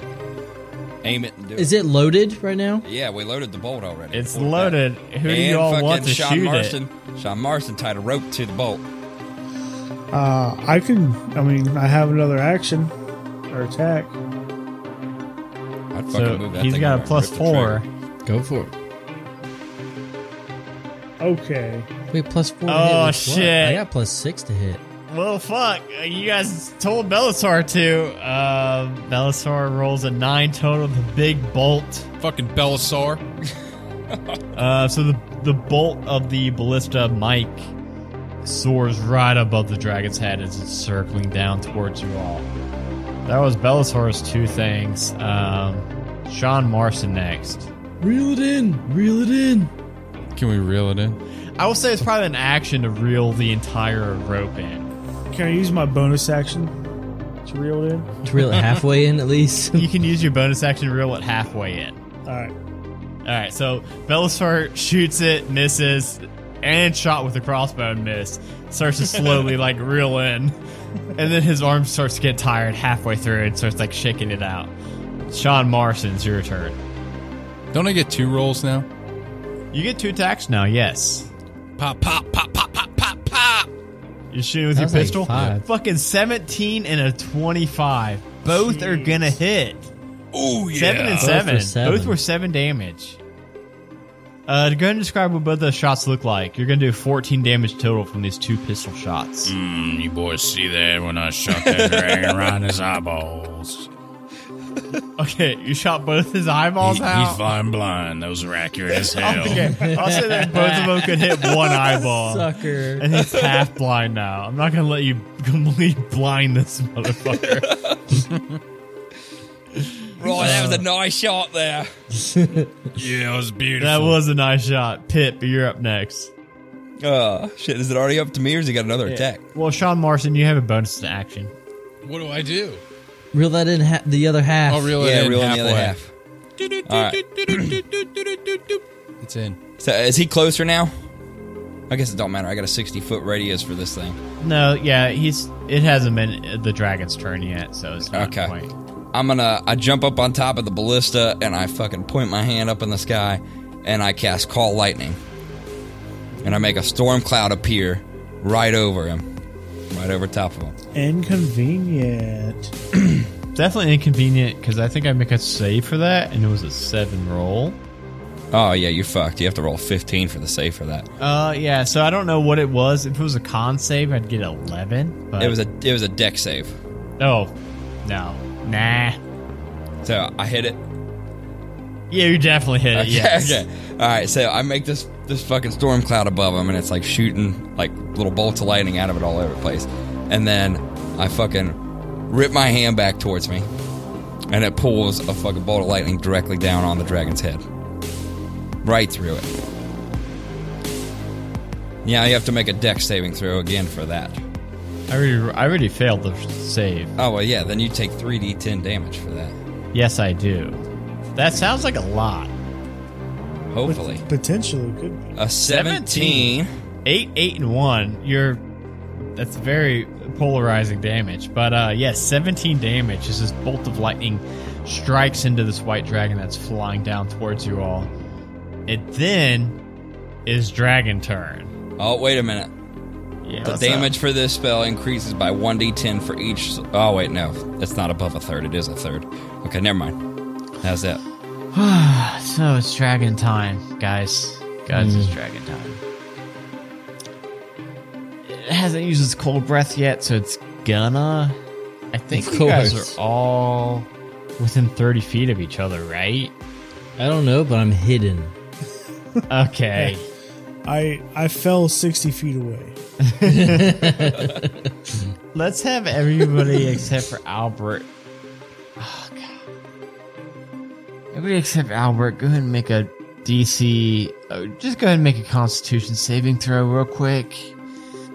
Speaker 3: Aim it and do it.
Speaker 4: Is it loaded right now?
Speaker 3: Yeah, we loaded the bolt already.
Speaker 1: It's
Speaker 3: Pulled it
Speaker 1: loaded.
Speaker 3: back.
Speaker 1: Who do you all
Speaker 3: fucking
Speaker 1: want to
Speaker 3: Sean
Speaker 1: shoot it?
Speaker 3: Marston. Sean Marston tied a rope to the bolt.
Speaker 2: Uh, I can. I mean, I have another action or attack.
Speaker 3: I'd fucking
Speaker 1: So
Speaker 3: move that
Speaker 1: he's
Speaker 3: thing
Speaker 1: got a
Speaker 3: over,
Speaker 1: plus
Speaker 3: rip the trigger.
Speaker 1: four.
Speaker 4: Go for it.
Speaker 2: Okay.
Speaker 4: Wait, plus four. to
Speaker 1: Oh,
Speaker 4: hit with what?
Speaker 1: shit.
Speaker 4: I got plus six to hit.
Speaker 1: Well, fuck. Uh, You guys told Belisar to. Uh, Belisar rolls a nine total. The big bolt.
Speaker 5: Fucking Belisar.
Speaker 1: Uh, so the the bolt of the ballista Mike soars right above the dragon's head as it's circling down towards you all. That was Belisar's two things. Um, Sean Marson next.
Speaker 4: Reel it in. Reel it in.
Speaker 5: Can we reel it in?
Speaker 1: I will say it's probably an action to reel the entire rope in.
Speaker 2: Can I use my bonus action to reel it in?
Speaker 4: To reel it halfway in at least.
Speaker 1: You can use your bonus action to reel it halfway in.
Speaker 2: All right.
Speaker 1: All right, so Belisar shoots it, misses, and shot with the crossbow and missed. Starts to slowly like reel in, and then his arm starts to get tired halfway through and starts like shaking it out. Sean Marson's your turn.
Speaker 5: Don't I get two rolls now?
Speaker 1: You get two attacks now. Yes.
Speaker 5: Pop, pop, pop, pop, pop, pop, pop.
Speaker 1: You're shooting with
Speaker 4: That
Speaker 1: your
Speaker 4: was like
Speaker 1: pistol.
Speaker 4: five.
Speaker 1: Fucking 17 and a 25. Both are gonna hit.
Speaker 6: Oh yeah.
Speaker 1: Seven and
Speaker 4: Both
Speaker 1: seven.
Speaker 4: were
Speaker 1: Both,
Speaker 4: seven.
Speaker 1: were seven damage. Uh, to go ahead and describe what both those shots look like, you're gonna do 14 damage total from these two pistol shots.
Speaker 6: Mm, you boys see that when I shot that dragon right in his eyeballs?
Speaker 1: Okay, you shot both his eyeballs
Speaker 6: He,
Speaker 1: out.
Speaker 6: he's flying blind. Those are accurate as hell.
Speaker 1: Okay, I'll say that both of them could hit one eyeball.
Speaker 4: Sucker.
Speaker 1: And he's half blind now. I'm not gonna let you completely blind this motherfucker.
Speaker 3: Right, that
Speaker 1: Uh.
Speaker 3: was a nice shot there.
Speaker 6: Yeah, it was beautiful.
Speaker 1: that was a nice shot. Pip, you're up next.
Speaker 3: Uh, shit, is it already up to me or has he got another attack?
Speaker 1: Well, Sean Morrison, you have a bonus to action.
Speaker 5: What do I do?
Speaker 4: Reel that in ha- the other half.
Speaker 5: Oh, reel it
Speaker 3: Yeah,
Speaker 5: in
Speaker 3: reel in the
Speaker 5: halfway.
Speaker 3: other half. All right.
Speaker 5: It's in.
Speaker 3: So is he closer now? I guess it don't matter. I got a 60 foot radius for this thing.
Speaker 1: No, yeah, he's. It hasn't been the dragon's turn yet, so it's not
Speaker 3: Okay.
Speaker 1: quite.
Speaker 3: I'm gonna I jump up on top of the ballista and I fucking point my hand up in the sky and I cast call lightning. And I make a storm cloud appear right over him. Right over top of him.
Speaker 2: Inconvenient.
Speaker 1: Definitely inconvenient because I think I make a save for that, and it was a seven roll.
Speaker 3: Oh yeah, you're fucked. You have to roll 15 for the save for that.
Speaker 1: Uh, yeah. So I don't know what it was. If it was a con save, I'd get eleven. But
Speaker 3: It was a it was a deck save.
Speaker 1: Oh, no, nah.
Speaker 3: So I hit it.
Speaker 1: Yeah, you definitely hit it.
Speaker 3: Okay,
Speaker 1: Yes.
Speaker 3: Uh, okay. All right, so I make this this fucking storm cloud above him, and it's like shooting like little bolts of lightning out of it all over the place. And then I fucking rip my hand back towards me, and it pulls a fucking bolt of lightning directly down on the dragon's head, right through it. Yeah, you have to make a deck saving throw again for that.
Speaker 1: I already, I already failed the save.
Speaker 3: Oh well, yeah. Then you take three d10 damage for that.
Speaker 1: Yes, I do. That sounds like a lot.
Speaker 3: Hopefully,
Speaker 2: Potentially could be.
Speaker 3: a 17.
Speaker 1: Eight, eight, and one. You're. That's very polarizing damage. But uh, yes, 17 damage as this bolt of lightning strikes into this white dragon that's flying down towards you all. It then is dragon turn.
Speaker 3: Oh wait a minute.
Speaker 1: Yeah,
Speaker 3: The
Speaker 1: what's
Speaker 3: damage
Speaker 1: up?
Speaker 3: for this spell increases by 1d10 for each. Oh, wait, no. It's not above a third. It is a third. Okay, never mind. How's that?
Speaker 1: So it's dragon time, guys. Guys,
Speaker 4: Hmm.
Speaker 1: it's dragon time. It hasn't used its cold breath yet, so it's gonna. I think
Speaker 4: Of
Speaker 1: you guys
Speaker 4: course.
Speaker 1: are all within 30 feet of each other, right?
Speaker 4: I don't know, but I'm hidden.
Speaker 1: Okay.
Speaker 2: I I fell sixty feet away.
Speaker 1: Let's have everybody except for Albert. Oh, God. Everybody except Albert, go ahead and make a DC. uh, just go ahead and make a Constitution saving throw real quick.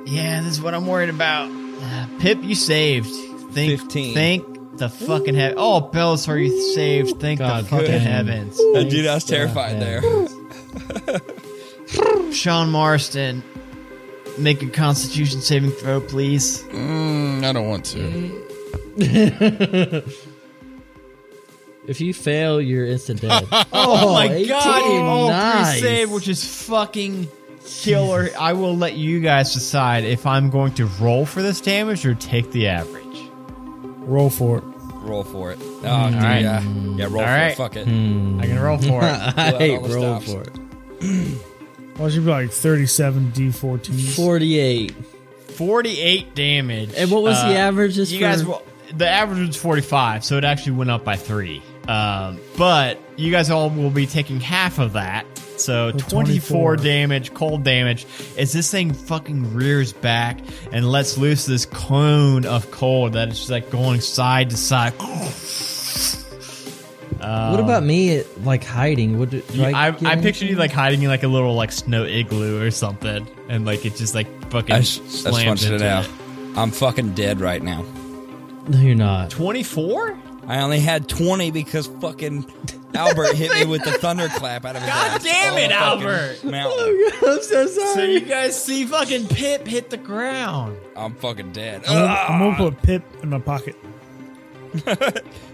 Speaker 1: Yeah, this is what I'm worried about. Uh, Pip, you saved. Think,
Speaker 3: 15.
Speaker 1: Thank the fucking heaven. Oh, Belisar, you saved. Thank
Speaker 4: God
Speaker 1: the fucking
Speaker 4: damn.
Speaker 1: heavens.
Speaker 3: dude, I was
Speaker 1: uh,
Speaker 3: terrified there.
Speaker 1: Sean Marston, make a Constitution saving throw, please.
Speaker 5: Mm, I don't want to.
Speaker 4: If you fail, you're instant dead. oh,
Speaker 1: Oh my god!
Speaker 4: 18,
Speaker 1: Oh,
Speaker 4: nice.
Speaker 1: three save, which is fucking killer. I will let you guys decide if I'm going to roll for this damage or take the average.
Speaker 2: Roll for it.
Speaker 3: Roll for it.
Speaker 1: Hmm.
Speaker 3: Oh, dude,
Speaker 1: right.
Speaker 3: yeah. Yeah, roll for it.
Speaker 1: right.
Speaker 3: Fuck it.
Speaker 1: I can roll for it.
Speaker 4: I
Speaker 3: Well,
Speaker 4: hate
Speaker 3: almost
Speaker 4: roll
Speaker 3: stops.
Speaker 4: for it.
Speaker 2: Why should be like thirty-seven d 14s
Speaker 4: 48.
Speaker 1: Forty-eight damage. Uh,
Speaker 4: And what was the average just
Speaker 1: You
Speaker 4: for-
Speaker 1: guys, will- the average was forty-five, so it actually went up by three. Um, but you guys all will be taking half of that. So 24
Speaker 2: 24.
Speaker 1: damage, cold damage. As this thing fucking rears back and lets loose this cone of cold that is just like going side to side.
Speaker 4: what about me, like, hiding? What do, do
Speaker 1: Um, You- I,
Speaker 4: get
Speaker 1: I
Speaker 4: anything?
Speaker 1: pictured you like hiding in like a little like snow igloo or something, and like it just like fucking
Speaker 3: I just, I just
Speaker 1: slams
Speaker 3: punched it
Speaker 1: into
Speaker 3: out.
Speaker 1: it.
Speaker 3: I'm fucking dead right now.
Speaker 4: No, you're not.
Speaker 1: Twenty four?
Speaker 3: I only had 20 because fucking Albert hit me with the thunderclap out of his
Speaker 1: God
Speaker 3: ass.
Speaker 1: damn
Speaker 3: Oh,
Speaker 1: it,
Speaker 3: fucking
Speaker 1: Albert. Oh,
Speaker 3: mountain.
Speaker 4: I'm
Speaker 1: So
Speaker 4: so sorry.
Speaker 1: you guys see fucking Pip hit the ground.
Speaker 3: I'm fucking dead. Oh,
Speaker 2: I'm gonna put Pip in my pocket.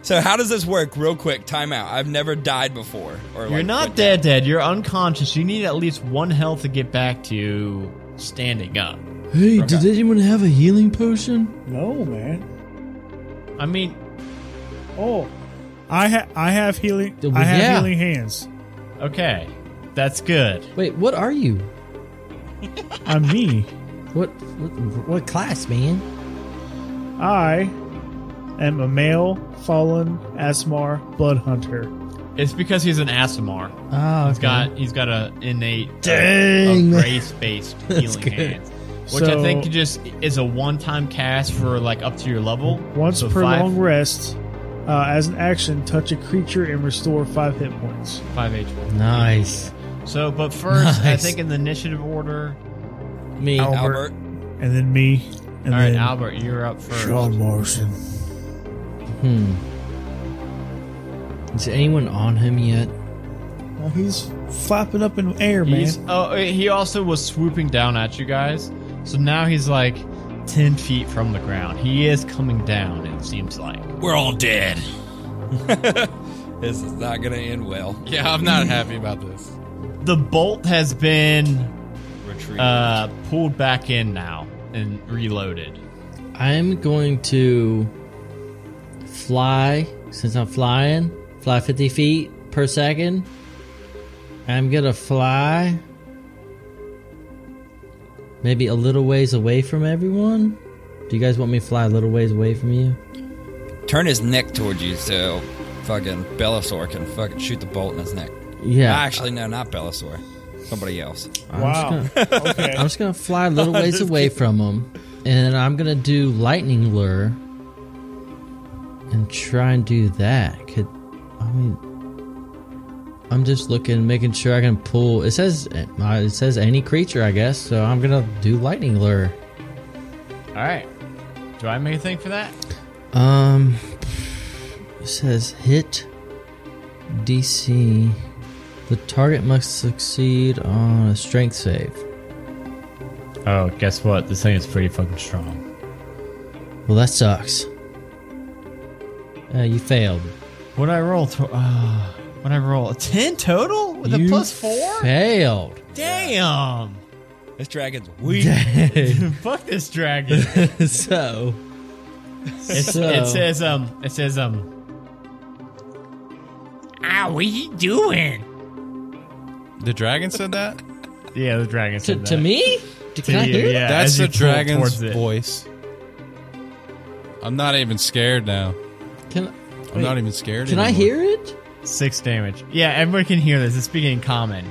Speaker 3: So how does this work? Real quick, timeout. I've never died before. Or
Speaker 1: You're not dead, dead. You're unconscious. You need at least one health to get back to standing up.
Speaker 4: Hey, did anyone have a healing potion?
Speaker 2: No, man.
Speaker 1: I mean,
Speaker 2: Oh, I ha- I have healing.
Speaker 4: Well,
Speaker 2: I have
Speaker 4: yeah.
Speaker 2: healing hands.
Speaker 1: okay, that's good.
Speaker 4: Wait, what are you?
Speaker 2: I'm me.
Speaker 4: What what, what class, man?
Speaker 2: I am a male fallen Asmar blood hunter.
Speaker 1: It's because he's an Asimar.
Speaker 4: Ah,
Speaker 1: He's got he's got a innate uh,
Speaker 4: Dang,
Speaker 1: of
Speaker 4: man.
Speaker 1: grace based healing
Speaker 4: good.
Speaker 1: hands, which I
Speaker 2: So-
Speaker 1: think just is a one time cast for like up to your level.
Speaker 2: Once
Speaker 1: So
Speaker 2: per
Speaker 1: five-
Speaker 2: long rest, uh, as an action, touch a creature and restore five hit points.
Speaker 1: five HP.
Speaker 4: nice.
Speaker 1: So, but first, I
Speaker 4: Nice.
Speaker 1: think in the initiative order.
Speaker 4: Me.
Speaker 3: Albert.
Speaker 2: and then me, and
Speaker 1: all right,
Speaker 2: then
Speaker 1: Albert, you're up first.
Speaker 2: Sean Morrison.
Speaker 4: Hmm. Is anyone on him yet?
Speaker 2: Well, he's flapping up in air, man.
Speaker 1: He's, oh, he also was swooping down at you guys. So now he's like 10 feet from the ground. He is coming down, it seems like.
Speaker 6: We're all dead.
Speaker 3: This is not going to end well.
Speaker 5: Yeah, I'm not happy about this.
Speaker 1: The bolt has been
Speaker 3: Retreat.
Speaker 1: uh, pulled back in now and reloaded.
Speaker 4: I'm going to fly since I'm flying. Fly 50 feet per second. I'm gonna fly maybe a little ways away from everyone. Do you guys want me to fly a little ways away from you?
Speaker 3: Turn his neck towards you so fucking Bellasaur can fucking shoot the bolt in his neck.
Speaker 1: Ah,
Speaker 4: Yeah.
Speaker 3: Actually, no, not Bellasaur. Somebody else.
Speaker 4: I'm
Speaker 2: wow.
Speaker 4: Just gonna,
Speaker 2: okay.
Speaker 4: I'm just gonna fly a little ways away from them, and I'm gonna do lightning lure and try and do that. Could I mean? I'm just looking, making sure I can pull. It says uh, it says any creature, I guess. So I'm gonna do lightning lure.
Speaker 1: All right. Do I make a thing for that?
Speaker 4: Um, it says hit DC. The target must succeed on a strength save.
Speaker 1: Oh, guess what? This thing is pretty fucking strong.
Speaker 4: Well, that sucks. Uh, you failed.
Speaker 1: What I roll? To- uh, what I roll? A 10 total? With
Speaker 4: you
Speaker 1: a plus four?
Speaker 4: Failed.
Speaker 1: Damn.
Speaker 3: This dragon's weak.
Speaker 1: Fuck this dragon.
Speaker 4: so,
Speaker 1: It's-
Speaker 4: So-
Speaker 1: It says um. It says um. Ah, what he doing?
Speaker 5: The dragon said that?
Speaker 1: Yeah, the dragon
Speaker 4: to,
Speaker 1: said that.
Speaker 4: to me?
Speaker 1: To
Speaker 4: To, can I
Speaker 1: you,
Speaker 4: hear
Speaker 1: yeah.
Speaker 4: it?
Speaker 1: as
Speaker 5: That's
Speaker 1: you
Speaker 5: the
Speaker 1: pull
Speaker 5: dragon's
Speaker 1: towards it.
Speaker 5: voice. I'm not even scared now.
Speaker 4: Can,
Speaker 5: I'm not even scared.
Speaker 4: can I
Speaker 5: anymore.
Speaker 4: hear it?
Speaker 1: six damage. Yeah, everyone can hear this. It's speaking in common.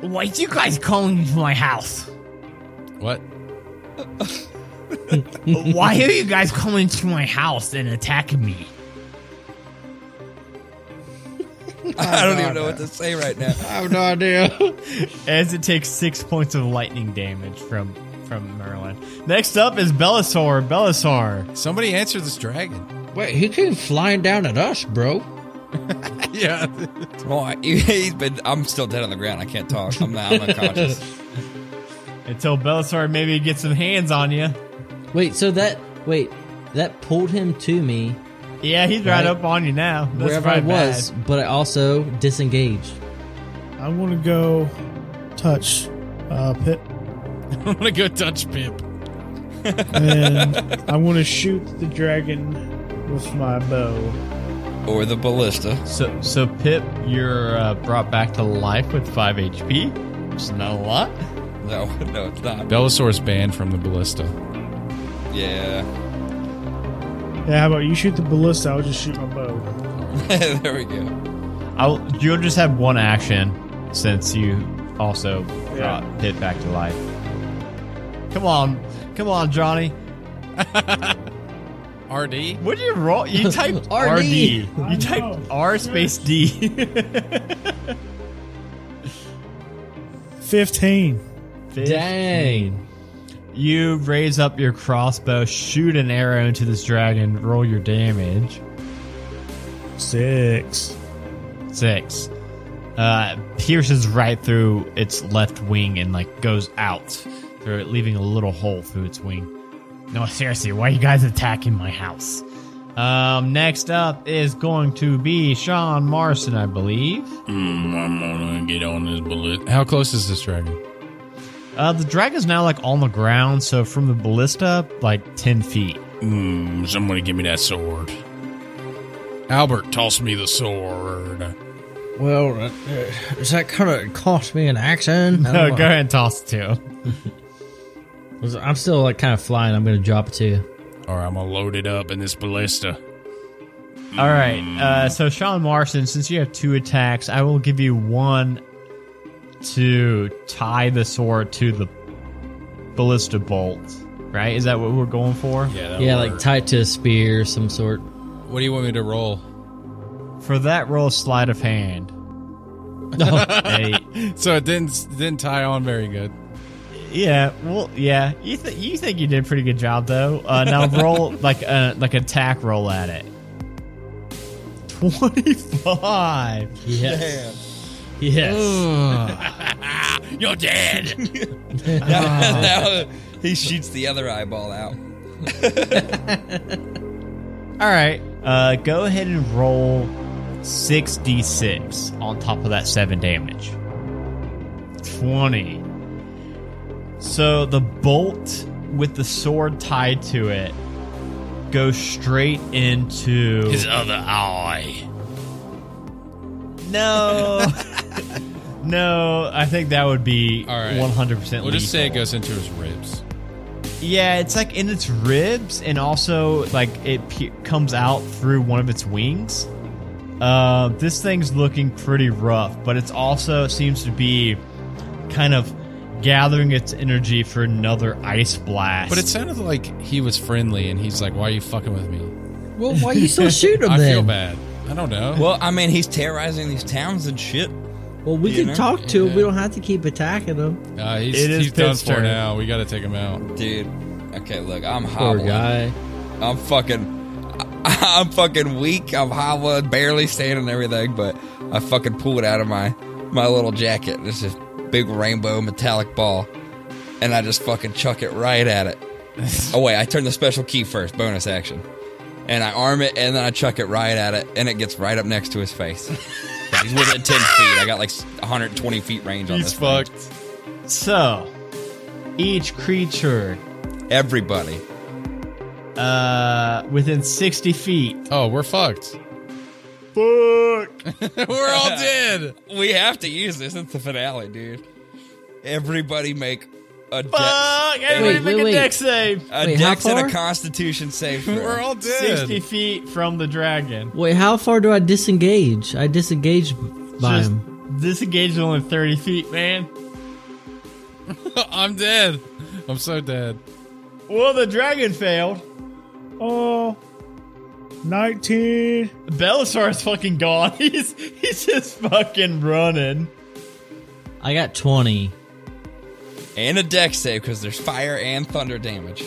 Speaker 1: Why you guys calling to my house?
Speaker 5: What?
Speaker 1: Why are you guys coming to my house and attacking me?
Speaker 3: I don't even know what to say right now.
Speaker 4: I have no idea.
Speaker 1: As it takes six points of lightning damage from from Merlin. Next up is Belisor. Belisor.
Speaker 5: Somebody answer this dragon.
Speaker 4: Wait, he came flying down at us, bro.
Speaker 5: yeah.
Speaker 3: Well, he- he's been. I'm still dead on the ground. I can't talk. I'm, not, I'm unconscious.
Speaker 1: Until Belisor maybe gets some hands on you.
Speaker 4: Wait, so that wait, that pulled him to me
Speaker 1: Yeah, he's right,
Speaker 4: Right.
Speaker 1: up on you now. That's
Speaker 4: wherever I
Speaker 1: probably bad.
Speaker 4: was, but I also disengaged.
Speaker 2: I'm gonna go touch uh, Pip,
Speaker 5: I'm gonna go touch Pip.
Speaker 2: and I'm gonna shoot the dragon with my bow.
Speaker 3: or the ballista.
Speaker 1: So, so Pip, you're uh, brought back to life with five HP, which is not a lot.
Speaker 3: No, no, it's not.
Speaker 5: Bellasaur's banned from the ballista.
Speaker 3: Yeah.
Speaker 2: Yeah, how about you shoot the ballista? I'll just shoot my bow.
Speaker 3: there we go.
Speaker 1: I'll, you'll just have one action since you also
Speaker 2: Yeah.
Speaker 1: brought Pip back to life. Come on, come on, Johnny.
Speaker 5: RD.
Speaker 1: What did you roll? You typed RD.
Speaker 4: RD.
Speaker 1: You
Speaker 2: I
Speaker 1: typed
Speaker 2: know.
Speaker 1: R space D.
Speaker 2: Fifteen.
Speaker 4: Dang.
Speaker 1: You raise up your crossbow, shoot an arrow into this dragon, roll your damage.
Speaker 2: Six.
Speaker 1: six uh, pierces right through its left wing and like goes out through it leaving a little hole through its wing no seriously why are you guys attacking my house Um, next up is going to be Sean Marson, I believe.
Speaker 6: Mm, I'm gonna get on this bullet.
Speaker 5: How close is this dragon?
Speaker 1: Uh, the dragon's now like on the ground, so from the ballista, like 10 feet.
Speaker 6: Mm, somebody give me that sword. Albert, toss me the sword.
Speaker 4: Well, uh, does that kind of cost me an action? I
Speaker 1: No,
Speaker 4: don't
Speaker 1: go
Speaker 4: know.
Speaker 1: ahead and toss it to him.
Speaker 4: I'm still like kind of flying. I'm gonna drop it to you.
Speaker 6: All right, I'm gonna load it up in this ballista.
Speaker 1: All right. Uh, so, Sean Marson, since you have two attacks, I will give you one to tie the sword to the ballista bolt. Right? Is that what we're going for?
Speaker 6: Yeah, that'll
Speaker 4: Yeah,
Speaker 6: work.
Speaker 4: like tied to a spear of some sort.
Speaker 5: What do you want me to roll?
Speaker 1: For that roll, sleight of hand. Eight.
Speaker 5: So it didn't didn't tie on very good.
Speaker 1: Yeah, well, yeah. You th- you think you did a pretty good job though. Uh, now roll like a like attack roll at it. Twenty five.
Speaker 4: Yes. Yes.
Speaker 6: you're dead.
Speaker 3: now he shoots the other eyeball out.
Speaker 1: All right. Uh, go ahead and roll six d six on top of that seven damage. Twenty. So the bolt with the sword tied to it goes straight into
Speaker 6: His other eye.
Speaker 1: No. no, I think that would be
Speaker 5: All right.
Speaker 1: 100%
Speaker 5: We'll just say
Speaker 1: lethal.
Speaker 5: it goes into his ribs.
Speaker 1: Yeah, it's like in its ribs and also like it pe comes out through one of its wings. Uh, this thing's looking pretty rough, but it's also seems to be kind of gathering its energy for another ice blast.
Speaker 5: But it sounded like he was friendly, and he's like, "Why are you fucking with me?"
Speaker 4: Well, why you still shoot him
Speaker 5: I
Speaker 4: then?
Speaker 5: feel bad. I don't know.
Speaker 3: Well, I mean, he's terrorizing these towns and shit.
Speaker 4: Well, we
Speaker 3: You
Speaker 4: can
Speaker 3: know?
Speaker 4: talk to him. We don't have to keep attacking him.
Speaker 5: Uh, he's
Speaker 1: It is
Speaker 5: he's done
Speaker 1: Pitt's
Speaker 5: for
Speaker 1: turn.
Speaker 5: now. We got to take him out.
Speaker 3: Dude. Okay, look, I'm
Speaker 4: Poor
Speaker 3: hobbling.
Speaker 4: guy.
Speaker 3: I'm fucking. I- I'm fucking weak. I'm hobbling, barely standing and everything, but I fucking pull it out of my my little jacket. It's this big rainbow metallic ball, and I just fucking chuck it right at it. oh wait, I turn the special key first, bonus action, and I arm it, and then I chuck it right at it, and it gets right up next to his face. He's within ten feet. I got like 120 feet
Speaker 4: Oh,
Speaker 3: range on this.
Speaker 5: He's
Speaker 3: thing.
Speaker 5: fucked.
Speaker 1: so each creature
Speaker 3: Everybody.
Speaker 1: uh, within 60 feet
Speaker 5: Oh, we're fucked. Fuck. we're all dead.
Speaker 3: We have to use this. It's the finale, dude. Everybody make a dex,
Speaker 1: Fuck! Everybody
Speaker 4: Wait,
Speaker 1: make
Speaker 4: wait,
Speaker 1: a
Speaker 4: wait.
Speaker 1: deck save.
Speaker 3: a
Speaker 4: Wait, how
Speaker 3: dex and a
Speaker 4: far?
Speaker 3: constitution save. throw.
Speaker 5: We're all dead.
Speaker 1: Sixty feet from the dragon.
Speaker 4: Wait, how far do I disengage? I disengage by
Speaker 1: Just
Speaker 4: him.
Speaker 1: disengage is only thirty feet, man.
Speaker 5: I'm dead. I'm so dead.
Speaker 1: Well, the dragon failed.
Speaker 2: Oh, 19.
Speaker 1: Belisar is fucking gone. He's he's just fucking running.
Speaker 4: I got 20.
Speaker 3: and a dex save because there's fire and thunder damage.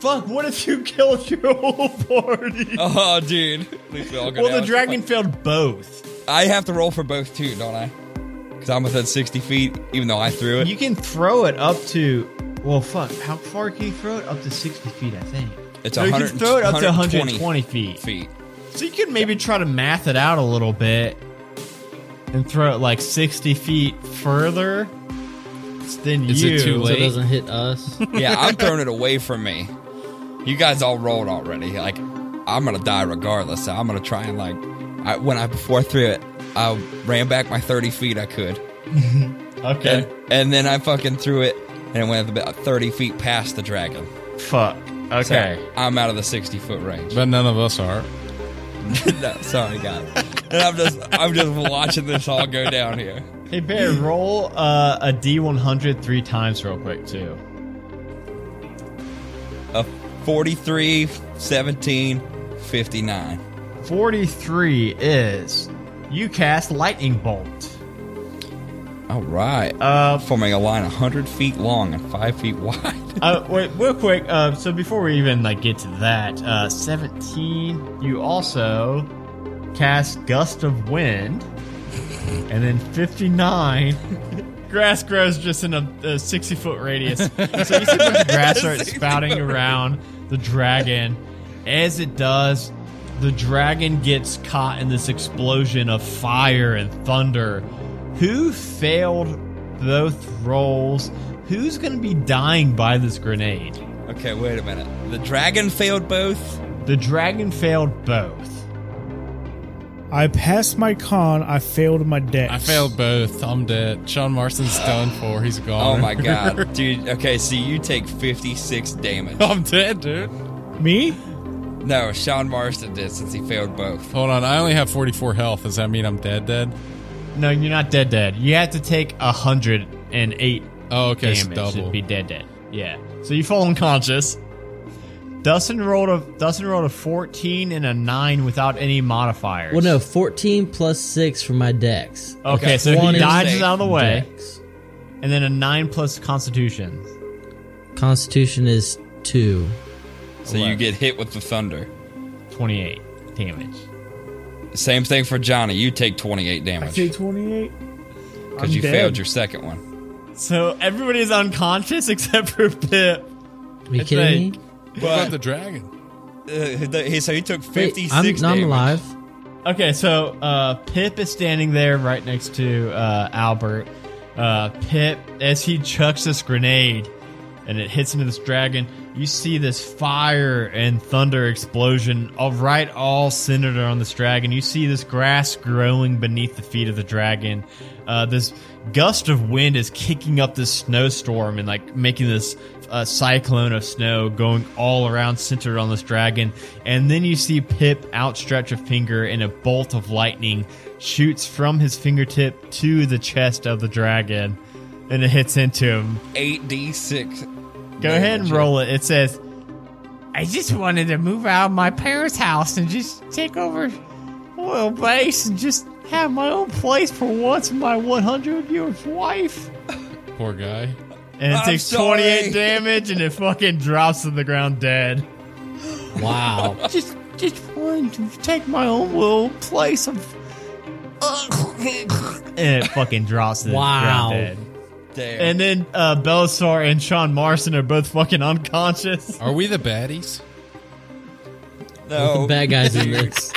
Speaker 1: Fuck! What if you killed your whole party?
Speaker 3: Oh, dude. At least we all go
Speaker 1: well,
Speaker 3: down.
Speaker 1: the dragon failed both.
Speaker 3: I have to roll for both too, don't I? Because I'm within 60 feet, even though I threw it.
Speaker 1: You can throw it up to. Well, fuck! How far can you throw it? Up to sixty feet, I think.
Speaker 3: It's
Speaker 1: No, you can
Speaker 3: 100
Speaker 1: throw it up to
Speaker 3: 120
Speaker 1: 120 feet.
Speaker 3: feet.
Speaker 1: So you could maybe try to math it out a little bit and throw it like 60 feet further. It's Then
Speaker 5: Is
Speaker 1: you.
Speaker 5: it too
Speaker 4: So it
Speaker 5: Wait.
Speaker 4: doesn't hit us.
Speaker 3: Yeah, I'm throwing it away from me. You guys all rolled already. Like, I'm gonna die regardless. So I'm gonna try and like, I, when I before I threw it, I ran back my 30 feet I could,
Speaker 1: Okay.
Speaker 3: and then I fucking threw it, and it went about 30 feet past the dragon.
Speaker 1: Fuck.
Speaker 3: So
Speaker 1: Okay.
Speaker 3: I'm out of the 60 foot range.
Speaker 5: But none of us are.
Speaker 3: no, sorry, God. And I'm just, I'm just watching this all go down here.
Speaker 1: Hey, Bear, roll uh, a D100 three times real quick, too.
Speaker 3: A 43, 17, 59.
Speaker 1: 43 is you cast Lightning Bolt.
Speaker 3: All right.
Speaker 1: Uh,
Speaker 3: Forming a line 100 feet long and 5 feet wide.
Speaker 1: uh, wait, real quick. Uh, so before we even like get to that, uh, seventeen. You also cast gust of wind, and then fifty nine. Grass grows just in a, a sixty foot radius. So you see the grass starts spouting around the dragon, As it does, the dragon gets caught in this explosion of fire and thunder. Who failed both rolls? Who's going to be dying by this grenade?
Speaker 3: Okay, wait a minute. The dragon failed both.
Speaker 1: The dragon failed both.
Speaker 2: I passed my con. I failed my dex.
Speaker 5: I failed both. I'm dead. Sean Marston's done for. He's
Speaker 3: Oh
Speaker 5: gone.
Speaker 3: my god, dude. Okay, so you take fifty six damage.
Speaker 5: I'm dead, dude.
Speaker 2: Me?
Speaker 3: No, Sean Marston did since he failed both.
Speaker 5: Hold on. I only have 44 health. Does that mean I'm dead, dead?
Speaker 1: No, you're not dead dead. You have to take 108
Speaker 5: Oh, okay. it's
Speaker 1: damage
Speaker 5: double.
Speaker 1: to be dead dead. Yeah. So you fall unconscious. Dustin rolled a Dustin rolled a 14 and a 9 without any modifiers.
Speaker 4: Well, no, 14 plus 6 for my dex.
Speaker 1: Okay, so
Speaker 3: One
Speaker 1: he
Speaker 3: is
Speaker 1: dodges
Speaker 3: safe.
Speaker 1: out of the way,
Speaker 4: Dex.
Speaker 1: and then a 9 plus constitution.
Speaker 4: Constitution is 2.
Speaker 3: So you get hit with the thunder.
Speaker 1: 28 damage.
Speaker 3: Same thing for Johnny. You take twenty eight
Speaker 2: I
Speaker 3: damage
Speaker 2: take 28. I'm
Speaker 3: because you
Speaker 2: dead.
Speaker 3: failed your second one.
Speaker 1: So everybody's unconscious except for Pip.
Speaker 4: Are you kidding me?
Speaker 5: What about the dragon?
Speaker 3: Uh, th- he- so he took
Speaker 4: Wait,
Speaker 3: 56
Speaker 4: I'm, no, I'm
Speaker 3: damage.
Speaker 4: alive.
Speaker 1: Okay, so uh, Pip is standing there right next to uh, Albert. Uh, Pip, as he chucks this grenade and it hits into this dragon, you see this fire and thunder explosion, all right, all centered on this dragon. You see this grass growing beneath the feet of the dragon. Uh, this gust of wind is kicking up this snowstorm and like making this uh, cyclone of snow going all around centered on this dragon and then you see pip outstretch a finger and a bolt of lightning shoots from his fingertip to the chest of the dragon and it hits into him
Speaker 3: 8d6.
Speaker 1: go ahead and roll it it says i just wanted to move out of my parents house and just take over a little base and just have my own place for once with my 100 year wife
Speaker 5: Poor guy.
Speaker 1: and it
Speaker 3: I'm
Speaker 1: takes
Speaker 3: sorry.
Speaker 1: 28 damage and it fucking drops to the ground dead.
Speaker 4: Wow.
Speaker 1: Just just wanted to take my own little place of and it fucking drops to the
Speaker 4: Wow.
Speaker 1: ground dead.
Speaker 3: Damn.
Speaker 1: And then uh Belisar and Sean Marson are both fucking unconscious.
Speaker 5: Are we the baddies?
Speaker 3: no.
Speaker 4: the bad guys in this.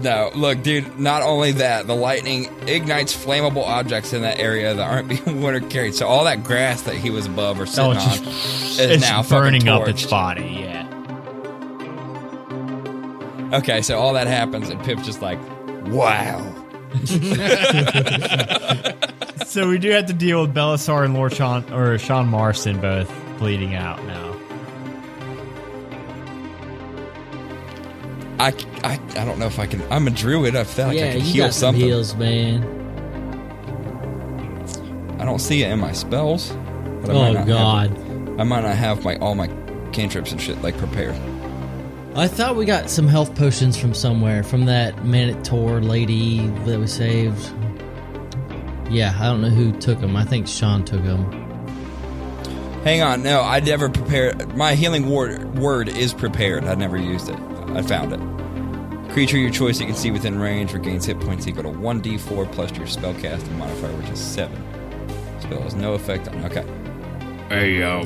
Speaker 3: No, look, dude, not only that, the lightning ignites flammable objects in that area that aren't being water carried. So all that grass that he was above or sitting
Speaker 1: Oh, it's
Speaker 3: on
Speaker 1: just-
Speaker 3: is
Speaker 1: It's
Speaker 3: now fucking
Speaker 1: burning up its
Speaker 3: torched.
Speaker 1: body, yeah.
Speaker 3: Okay, so all that happens, and Pip's just like, wow.
Speaker 1: So we do have to deal with Belisar and Lord Sean or Sean Marson both bleeding out now.
Speaker 3: I, I, I don't know if I can. I'm a druid. I feel like I
Speaker 4: yeah,
Speaker 3: can
Speaker 4: you
Speaker 3: heal
Speaker 4: got some
Speaker 3: something.
Speaker 4: heals, man.
Speaker 3: I don't see it in my spells. But I might
Speaker 4: Oh,
Speaker 3: not
Speaker 4: God.
Speaker 3: Have, I might not have my all my cantrips and shit like prepared.
Speaker 4: I thought we got some health potions from somewhere, from that Manator lady that we saved. Yeah, I don't know who took them. I think Sean took them.
Speaker 3: Hang on, no, I never prepared. My healing word, word is prepared. I never used it. I found it. Creature your choice you can see within range regains hit points equal to 1d4 plus your spellcasting modifier, which is 7. Spell has no effect on. Okay.
Speaker 6: Hey, yo.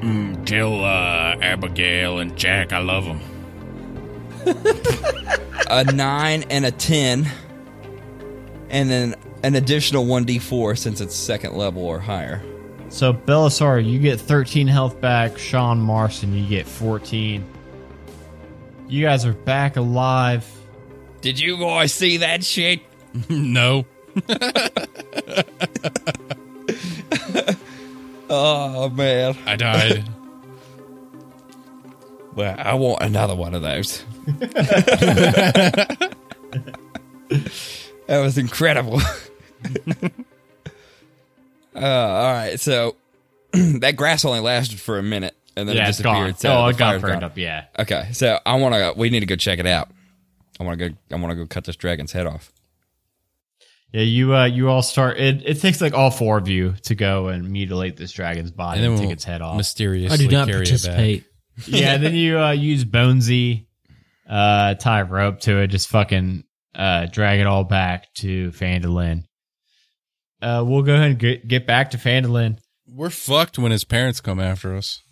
Speaker 6: Mm, tell uh, Abigail and Jack I love them.
Speaker 3: A 9 and a 10. And then an additional 1d4 since it's second level or higher.
Speaker 1: So Belisar, you get 13 health back. Sean Marson, you get 14. You guys are back alive.
Speaker 3: Did you guys see that shit?
Speaker 5: no.
Speaker 3: Oh, man.
Speaker 5: I died.
Speaker 3: Well, I want another one of those. that was incredible. uh, all right, so that grass only lasted for a minute, and then it
Speaker 1: yeah, it's
Speaker 3: disappeared.
Speaker 1: gone.
Speaker 3: so
Speaker 1: Oh,
Speaker 3: the
Speaker 1: it got
Speaker 3: fire's
Speaker 1: burned
Speaker 3: gone.
Speaker 1: up. Yeah.
Speaker 3: Okay, so I want to. We need to go check it out. I want to go. I want to go cut this dragon's head off.
Speaker 1: Yeah, you uh, you all start. It, it takes like all four of you to go and mutilate this dragon's body
Speaker 5: And
Speaker 1: and,
Speaker 5: then
Speaker 1: take
Speaker 5: we'll
Speaker 1: its head off.
Speaker 5: mysteriously
Speaker 4: I do not
Speaker 5: carry it back.
Speaker 4: participate.
Speaker 1: yeah, then you uh, use Bonesy, uh, tie a rope to it, just fucking uh, drag it all back to Fandolin. Uh, we'll go ahead and get, get back to Fandolin.
Speaker 5: We're fucked when his parents come after us.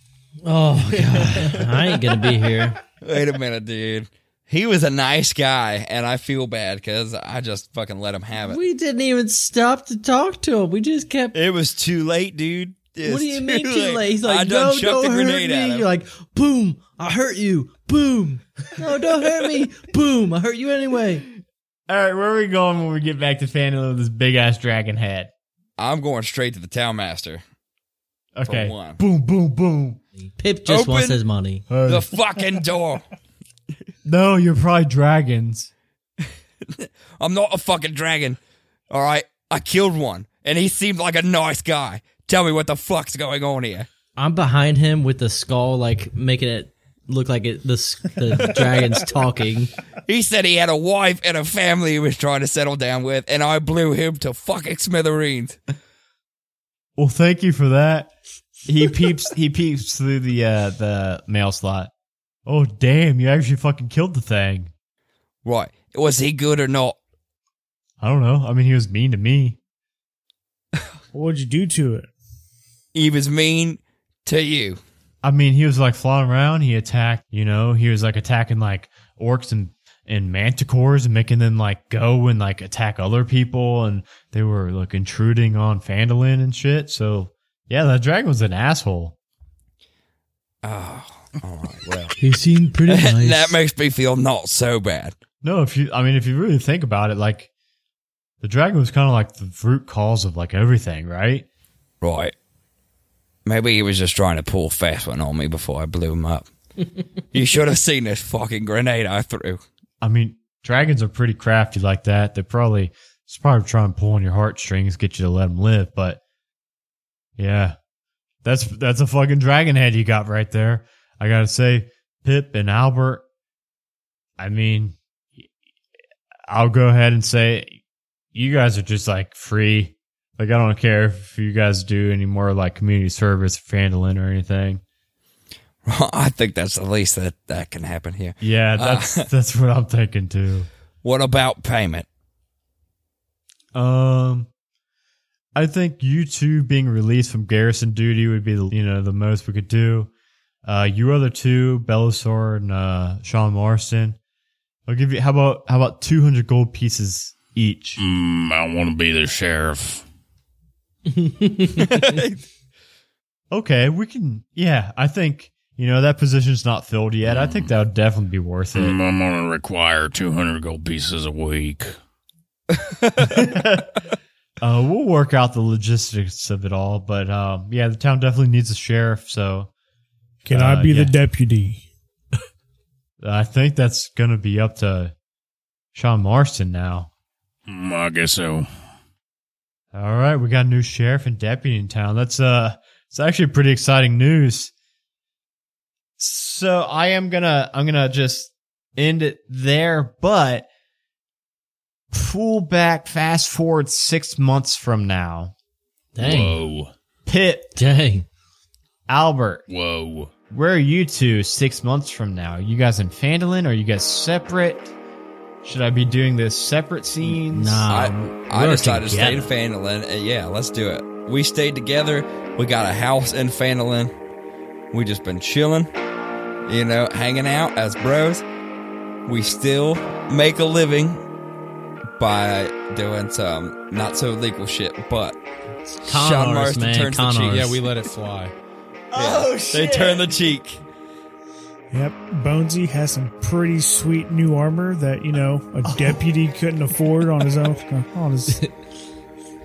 Speaker 4: Oh god, I ain't gonna be here.
Speaker 3: Wait a minute, dude. He was a nice guy, and I feel bad because I just fucking let him have it.
Speaker 4: We didn't even stop to talk to him. We just kept.
Speaker 3: It was too late, dude. It's
Speaker 4: what do you mean,
Speaker 3: too
Speaker 4: too late? He's like,
Speaker 3: I done
Speaker 4: no,
Speaker 3: chucked
Speaker 4: don't
Speaker 3: a
Speaker 4: hurt
Speaker 3: grenade at
Speaker 4: me.
Speaker 3: him.
Speaker 4: You're like, boom, I hurt you. Boom, no, don't hurt me. Boom, I hurt you anyway.
Speaker 1: All right, where are we going when we get back to Fanula with this big ass dragon head?
Speaker 3: I'm going straight to the town master.
Speaker 1: Okay.
Speaker 3: one.
Speaker 1: Boom, boom, boom.
Speaker 4: Pip just
Speaker 3: Open-
Speaker 4: wants his money.
Speaker 1: Hey.
Speaker 3: The fucking door.
Speaker 1: no, you're probably dragons.
Speaker 3: I'm not a fucking dragon. All right, I killed one, and he seemed like a nice guy. Tell me what the fuck's going on here.
Speaker 4: I'm behind him with the skull, like making it look like it. The, s- the dragon's talking.
Speaker 3: He said he had a wife and a family he was trying to settle down with, and I blew him to fucking smithereens.
Speaker 1: Well, thank you for that. He peeps. he peeps through the uh, the mail slot. Oh damn! You actually fucking killed the thing.
Speaker 3: Right? Was he good or not?
Speaker 1: I don't know. I mean, he was mean to me.
Speaker 2: What'd you do to it?
Speaker 3: He was mean to you.
Speaker 1: I mean, he was like flying around. He attacked. You know, he was like attacking like orcs and and manticores and making them like go and like attack other people. And they were like intruding on Fandolin and shit. So yeah, that dragon was an asshole.
Speaker 3: Oh, all right. Well,
Speaker 4: He seemed pretty nice.
Speaker 3: that makes me feel not so bad.
Speaker 1: No, if you, I mean, if you really think about it, like the dragon was kind of like the root cause of like everything, right?
Speaker 3: Right. Maybe he was just trying to pull a fast one on me before I blew him up. you should have seen this fucking grenade I threw.
Speaker 1: I mean, dragons are pretty crafty like that. They probably, it's probably trying to pull on your heartstrings, get you to let them live. But yeah, that's that's a fucking dragon head you got right there. I gotta say, Pip and Albert. I mean, I'll go ahead and say, you guys are just like free. Like I don't care if you guys do any more like community service, Fandolin or anything.
Speaker 3: I think that's the least that that can happen here.
Speaker 1: Yeah, that's that's what I'm thinking too.
Speaker 3: What about payment?
Speaker 1: Um, I think you two being released from garrison duty would be the you know the most we could do. Uh, you other two, Belisor and uh, Sean Morrison. I'll give you how about how about two hundred gold pieces each.
Speaker 6: Mm, I want to be the sheriff.
Speaker 1: Okay, we can. Yeah, I think you know that position's not filled yet. I think that would definitely be worth it.
Speaker 6: Mm, I'm going to require 200 gold pieces a week.
Speaker 1: Uh, we'll work out the logistics of it all, but um, yeah, the town definitely needs a sheriff, so
Speaker 2: Can
Speaker 1: Uh,
Speaker 2: I be
Speaker 1: yeah.
Speaker 2: the deputy?
Speaker 1: uh, I think that's gonna be up to Sean Marston now.
Speaker 6: Mm, I guess so.
Speaker 1: All right, we got a new sheriff and deputy in town. That's uh, it's actually pretty exciting news. So I am gonna, I'm gonna just end it there, but pull back, fast forward six months from now.
Speaker 4: dang,
Speaker 6: Whoa.
Speaker 1: Pip,
Speaker 4: dang.
Speaker 1: Albert,
Speaker 6: Whoa.
Speaker 1: where are you two six months from now? Are you guys in Fandolin? Are you guys separate? Should I be doing this separate scenes?
Speaker 4: Nah.
Speaker 3: I, I
Speaker 4: Um, we're
Speaker 3: decided to
Speaker 4: together.
Speaker 3: stay in Fandolin. and yeah, let's do it. We stayed together. We got a house in Fandolin. We just been chilling, you know, hanging out as bros. We still make a living by doing some not so legal shit, but
Speaker 4: Con
Speaker 3: Sean
Speaker 4: artist,
Speaker 3: Marston
Speaker 4: man,
Speaker 3: turns
Speaker 4: con
Speaker 3: the cheek.
Speaker 4: artist.
Speaker 5: Yeah, we let it fly.
Speaker 3: oh, shit. They turn the cheek.
Speaker 2: Yep. Bonesy has some pretty sweet new armor that you know a deputy couldn't afford on his own on his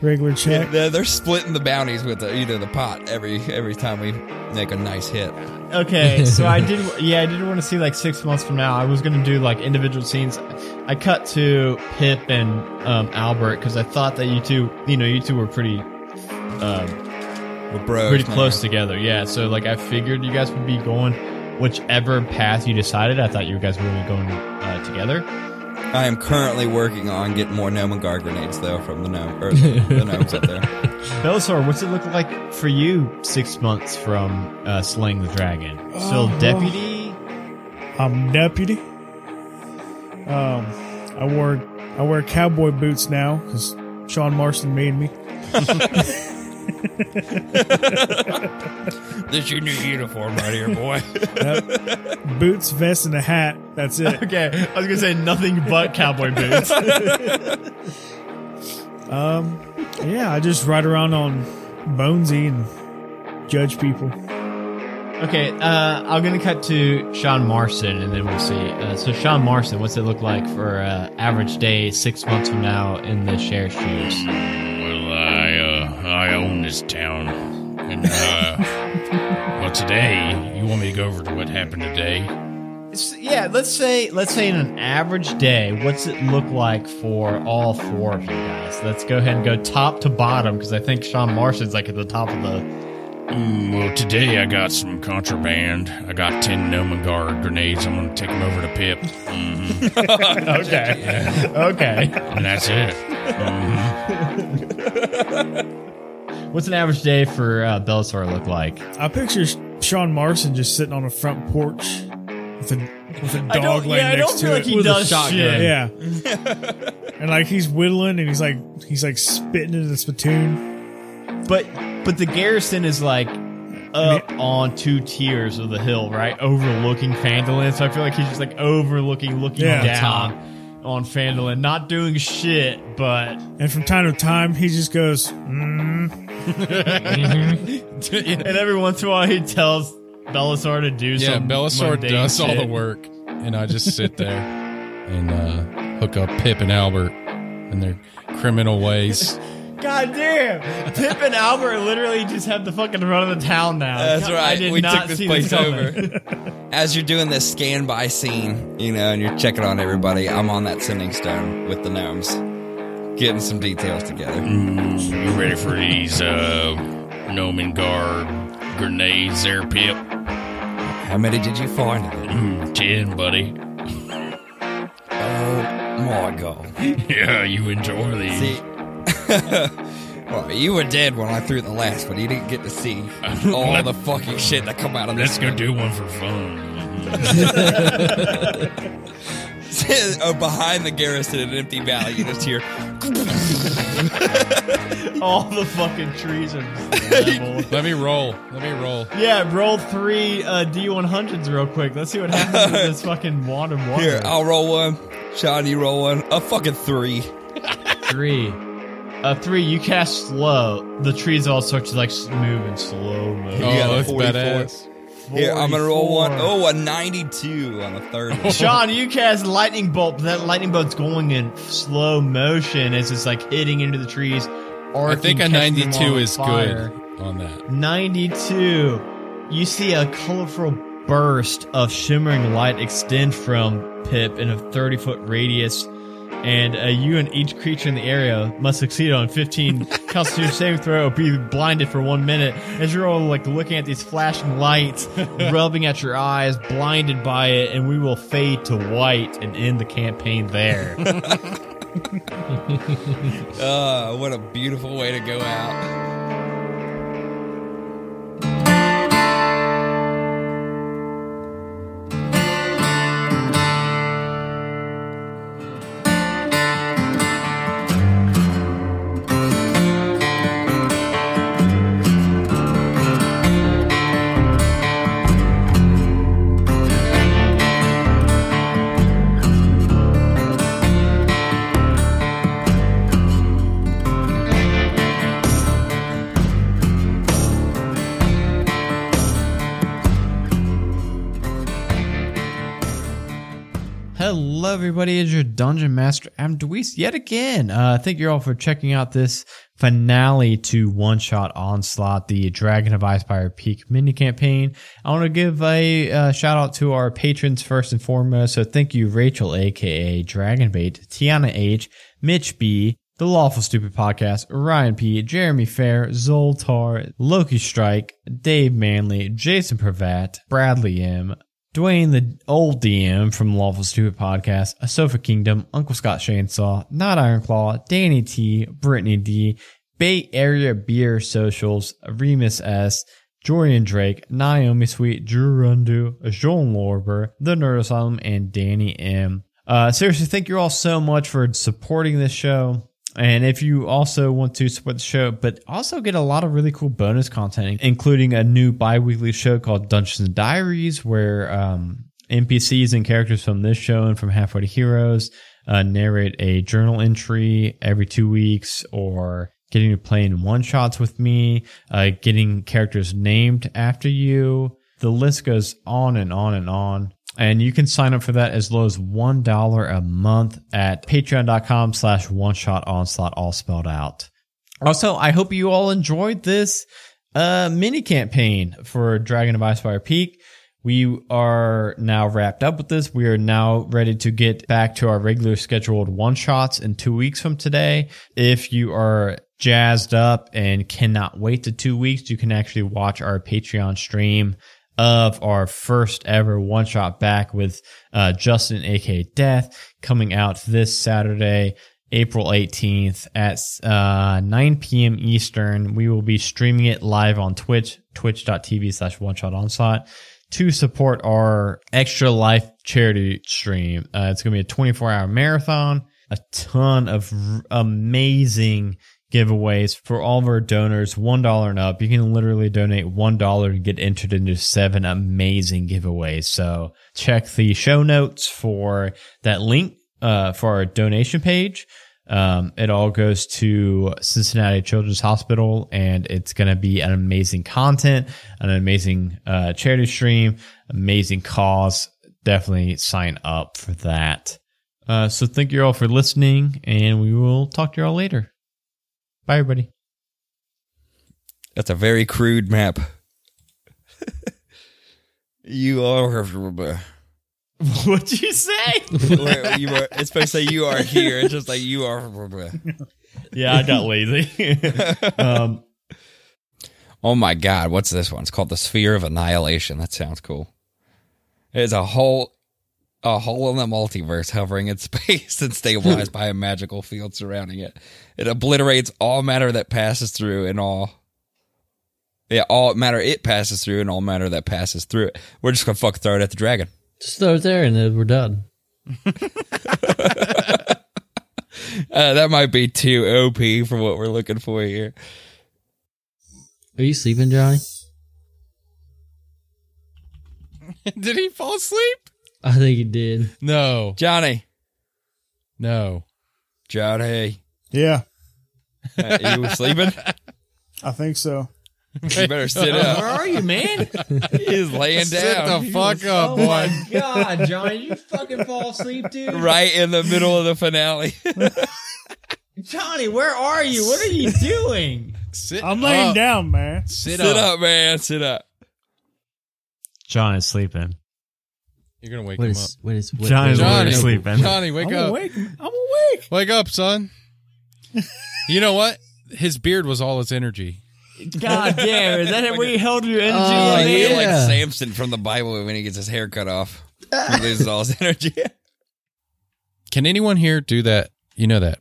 Speaker 2: regular check.
Speaker 3: They're, they're splitting the bounties with the, either the pot every every time we make a nice hit.
Speaker 1: Okay, so I did. Yeah, I did want to see like six months from now. I was gonna do like individual scenes. I cut to Pip and um, Albert because I thought that you two, you know, you two were pretty, uh,
Speaker 3: We're bros.
Speaker 1: pretty
Speaker 3: man.
Speaker 1: close together. Yeah, so like I figured you guys would be going whichever path you decided. I thought you guys were gonna be going uh, together.
Speaker 3: I am currently working on getting more Gnomegar grenades, though, from the gnome or the, the gnomes up there.
Speaker 1: Belisar, what's it look like for you six months from uh, slaying the dragon? Still
Speaker 2: Oh.
Speaker 1: deputy.
Speaker 2: I'm deputy. Um, I wore I wear cowboy boots now because Sean Marston made me.
Speaker 3: This your new uniform right here, boy.
Speaker 2: Boots, vest, and a hat. That's it.
Speaker 1: Okay, I was gonna say nothing but cowboy boots.
Speaker 2: yeah, I just ride around on Bonesy and judge people.
Speaker 1: Okay, uh, I'm gonna cut to Sean Marston, and then we'll see. Uh, so, Sean Marston, what's it look like for uh, average day six months from now in the sheriff's shoes?
Speaker 6: Well, I uh, I own this town, and uh, well, today you want me to go over to what happened today?
Speaker 1: It's- yeah, let's say let's say in an average day, what's it look like for all four of you guys? Let's go ahead and go top to bottom because I think Sean Marston's like at the top of the.
Speaker 6: Mm, well, today I got some contraband. I got ten Noman guard grenades. I'm gonna take them over to Pip, Mhm.
Speaker 1: Okay, okay.
Speaker 6: and that's it. Mhm.
Speaker 1: What's an average day for uh, Belisar look like?
Speaker 2: I picture Sean Marson just sitting on a front porch with a with a dog laying next to it.
Speaker 1: he does shit.
Speaker 2: yeah, and like he's whittling and he's like he's like spitting in the spittoon.
Speaker 1: But but the garrison is like up on two tiers of the hill, right? Overlooking Fandolin. So I feel like he's just like overlooking, looking
Speaker 2: Yeah.
Speaker 1: down on Fandolin, not doing shit, but
Speaker 2: And from time to time, he just goes, mm.
Speaker 1: and every once in a while he tells Belisar to do
Speaker 5: Yeah,
Speaker 1: some
Speaker 5: Belisar
Speaker 1: mundane
Speaker 5: does all the
Speaker 1: shit.
Speaker 5: work, and I just sit there and uh, hook up Pip and Albert in their criminal ways.
Speaker 1: God damn! Pip and Albert literally just have the fucking run of the town now.
Speaker 3: That's
Speaker 1: God, I
Speaker 3: right.
Speaker 1: did
Speaker 3: We
Speaker 1: not
Speaker 3: took this
Speaker 1: see
Speaker 3: place
Speaker 1: coming.
Speaker 3: over. As you're doing this scan by scene, you know, and you're checking on everybody, I'm on that sending stone with the gnomes, getting some details together.
Speaker 6: Mm, you ready for these uh, Noman guard grenades, there, Pip?
Speaker 3: How many did you find? of them?
Speaker 6: Mm, ten, buddy.
Speaker 3: Oh my god!
Speaker 6: Yeah, you enjoy these.
Speaker 3: See, well, you were dead when I threw the last one. You didn't get to see all the fucking shit that come out of
Speaker 6: Let's
Speaker 3: this.
Speaker 6: go do one for fun. Mhm.
Speaker 3: oh, behind the garrison in an empty valley, you just hear.
Speaker 1: All the fucking trees are just leveled.
Speaker 5: Let me roll. Let me roll.
Speaker 1: Yeah, roll three uh, D100s real quick. Let's see what happens with this fucking wand of water.
Speaker 3: Here, I'll roll one. Sean, you roll one. A fucking three.
Speaker 1: three. Uh, three, you cast slow. The trees all start to like s- move in slow motion.
Speaker 5: Oh,
Speaker 3: got a
Speaker 5: that's
Speaker 3: 44. Oh,
Speaker 5: badass.
Speaker 3: Here, I'm gonna roll one.
Speaker 1: 44.
Speaker 3: Oh, a 92 on the third one.
Speaker 1: Sean, you cast lightning bolt, but that lightning bolt's going in slow motion as it's like hitting into the trees.
Speaker 5: I
Speaker 1: arcing,
Speaker 5: think a
Speaker 1: catching them
Speaker 5: 92
Speaker 1: on
Speaker 5: is
Speaker 1: fire.
Speaker 5: good on that.
Speaker 1: 92. You see a colorful burst of shimmering light extend from Pip in a 30 foot radius, and uh, you and each creature in the area must succeed on 15 Constitution saving throw or be blinded for one minute. As you're all like looking at these flashing lights, rubbing at your eyes, blinded by it, and we will fade to white and end the campaign there.
Speaker 5: Oh.
Speaker 3: Uh, what a beautiful way to go out.
Speaker 1: Hello, everybody. It's your Dungeon Master, I'm Dweez yet again. Uh, thank you all for checking out this finale to One Shot Onslaught, the Dragon of Icepire Peak mini campaign. I want to give a uh, shout out to our patrons first and foremost. So thank you, Rachel, aka Dragonbait, Tiana H, Mitch B, the Lawful Stupid Podcast, Ryan P., Jeremy Fair, Zoltar, Loki Strike, Dave Manley, Jason Pravat, Bradley M., Dwayne, the old DM from Lawful Stupid Podcast, A Sofa Kingdom, Uncle Scott Shansaw, Not Ironclaw, Danny T, Brittany D, Bay Area Beer Socials, Remus S, Jordan Drake, Naomi Sweet, Drew Rundu, Joan Lorber, The Nerd Asylum, and Danny M. Uh, seriously, thank you all so much for supporting this show. And if you also want to support the show, but also get a lot of really cool bonus content, including a new bi weekly show called Dungeons and Diaries, where um, NPCs and characters from this show and from Halfway to Heroes uh, narrate a journal entry every two weeks or getting to play in one shots with me, uh, getting characters named after you. The list goes on and on and on. And you can sign up for that as low as one dollar a month at patreon.com slash one shot onslaught all spelled out. Also, I hope you all enjoyed this uh mini campaign for Dragon of Icefire Peak. We are now wrapped up with this. We are now ready to get back to our regular scheduled one shots in two weeks from today. If you are jazzed up and cannot wait to two weeks, you can actually watch our Patreon stream of our first ever one shot back with uh, Justin, aka Death, coming out this Saturday, April 18th at uh, 9 p.m. Eastern. We will be streaming it live on Twitch, twitch.tv slash one shot onslaught to support our extra life charity stream. Uh, it's going to be a 24 hour marathon, a ton of r- amazing giveaways for all of our donors, $1 and up. You can literally donate $1 and get entered into seven amazing giveaways. So check the show notes for that link uh, for our donation page. Um, it all goes to Cincinnati Children's Hospital, and it's going to be an amazing content, an amazing uh, charity stream, amazing cause. Definitely sign up for that. Uh, so thank you all for listening, and we will talk to you all later. Bye, everybody.
Speaker 3: That's a very crude map. you are. Wait,
Speaker 1: What'd you say?
Speaker 3: you are. It's supposed to say you are here. It's just like you are.
Speaker 1: yeah, I got lazy. um,
Speaker 3: Oh my God, what's this one? It's called the Sphere of Annihilation. That sounds cool. It's a hole, a hole in the multiverse hovering in space and stabilized by a magical field surrounding it. It obliterates all matter that passes through and all. Yeah, all matter it passes through and all matter that passes through it. We're just gonna fuck throw it at the dragon.
Speaker 4: Just throw it there and then we're done.
Speaker 3: Uh, that might be too OP for what we're looking for here.
Speaker 4: Are you sleeping, Johnny?
Speaker 5: Did he fall asleep?
Speaker 4: I think he did.
Speaker 5: No.
Speaker 3: Johnny,
Speaker 5: No.
Speaker 3: Johnny,
Speaker 2: Yeah,
Speaker 3: uh, you were sleeping?
Speaker 2: I think so.
Speaker 3: You better sit up.
Speaker 1: are you, man?
Speaker 3: He's laying
Speaker 5: Sit
Speaker 3: down.
Speaker 5: the fuck
Speaker 4: Oh
Speaker 5: up, boy.
Speaker 1: my god, Johnny, you fucking fall asleep, dude.
Speaker 3: right in the middle of the finale.
Speaker 1: Johnny, where are you? What are you doing?
Speaker 5: Sit
Speaker 2: I'm laying
Speaker 5: up.
Speaker 2: down, man.
Speaker 5: Sit,
Speaker 3: Sit
Speaker 5: up.
Speaker 3: up, man. Sit up.
Speaker 1: John is sleeping.
Speaker 5: You're gonna wake
Speaker 4: What
Speaker 5: him
Speaker 4: is what is what,
Speaker 1: Johnny,
Speaker 4: what-
Speaker 1: Johnny.
Speaker 5: up.
Speaker 1: You're sleeping.
Speaker 5: Johnny, wake
Speaker 2: I'm
Speaker 5: up.
Speaker 2: awake. I'm awake.
Speaker 5: Wake up, son. you know what? His beard was all his energy.
Speaker 1: God damn, is that where you held your energy?
Speaker 4: Oh,
Speaker 1: man?
Speaker 3: He's like
Speaker 4: yeah.
Speaker 3: Samson from the Bible when he gets his hair cut off. He loses all his energy.
Speaker 5: Can anyone here do that? You know that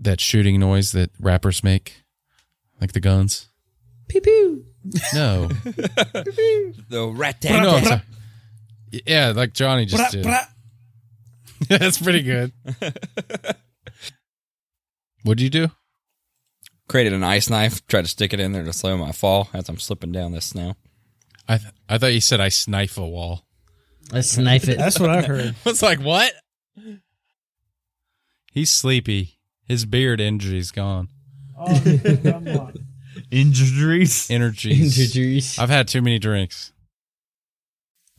Speaker 5: that shooting noise that rappers make, like the guns.
Speaker 4: pew pew.
Speaker 5: No,
Speaker 3: the rat
Speaker 5: no.
Speaker 3: tat.
Speaker 5: I'm sorry. yeah, like Johnny just did. That's pretty good. What'd you do?
Speaker 3: Created an ice knife, tried to stick it in there to slow my fall as I'm slipping down this snow.
Speaker 5: I th- I thought you said I snipe a wall.
Speaker 4: Let's snipe it.
Speaker 2: That's what I heard.
Speaker 5: I was like, what? He's sleepy. His beard energy's gone.
Speaker 2: Oh, I'm not.
Speaker 1: Injuries.
Speaker 5: Energy's.
Speaker 4: Introduce.
Speaker 5: I've had too many drinks.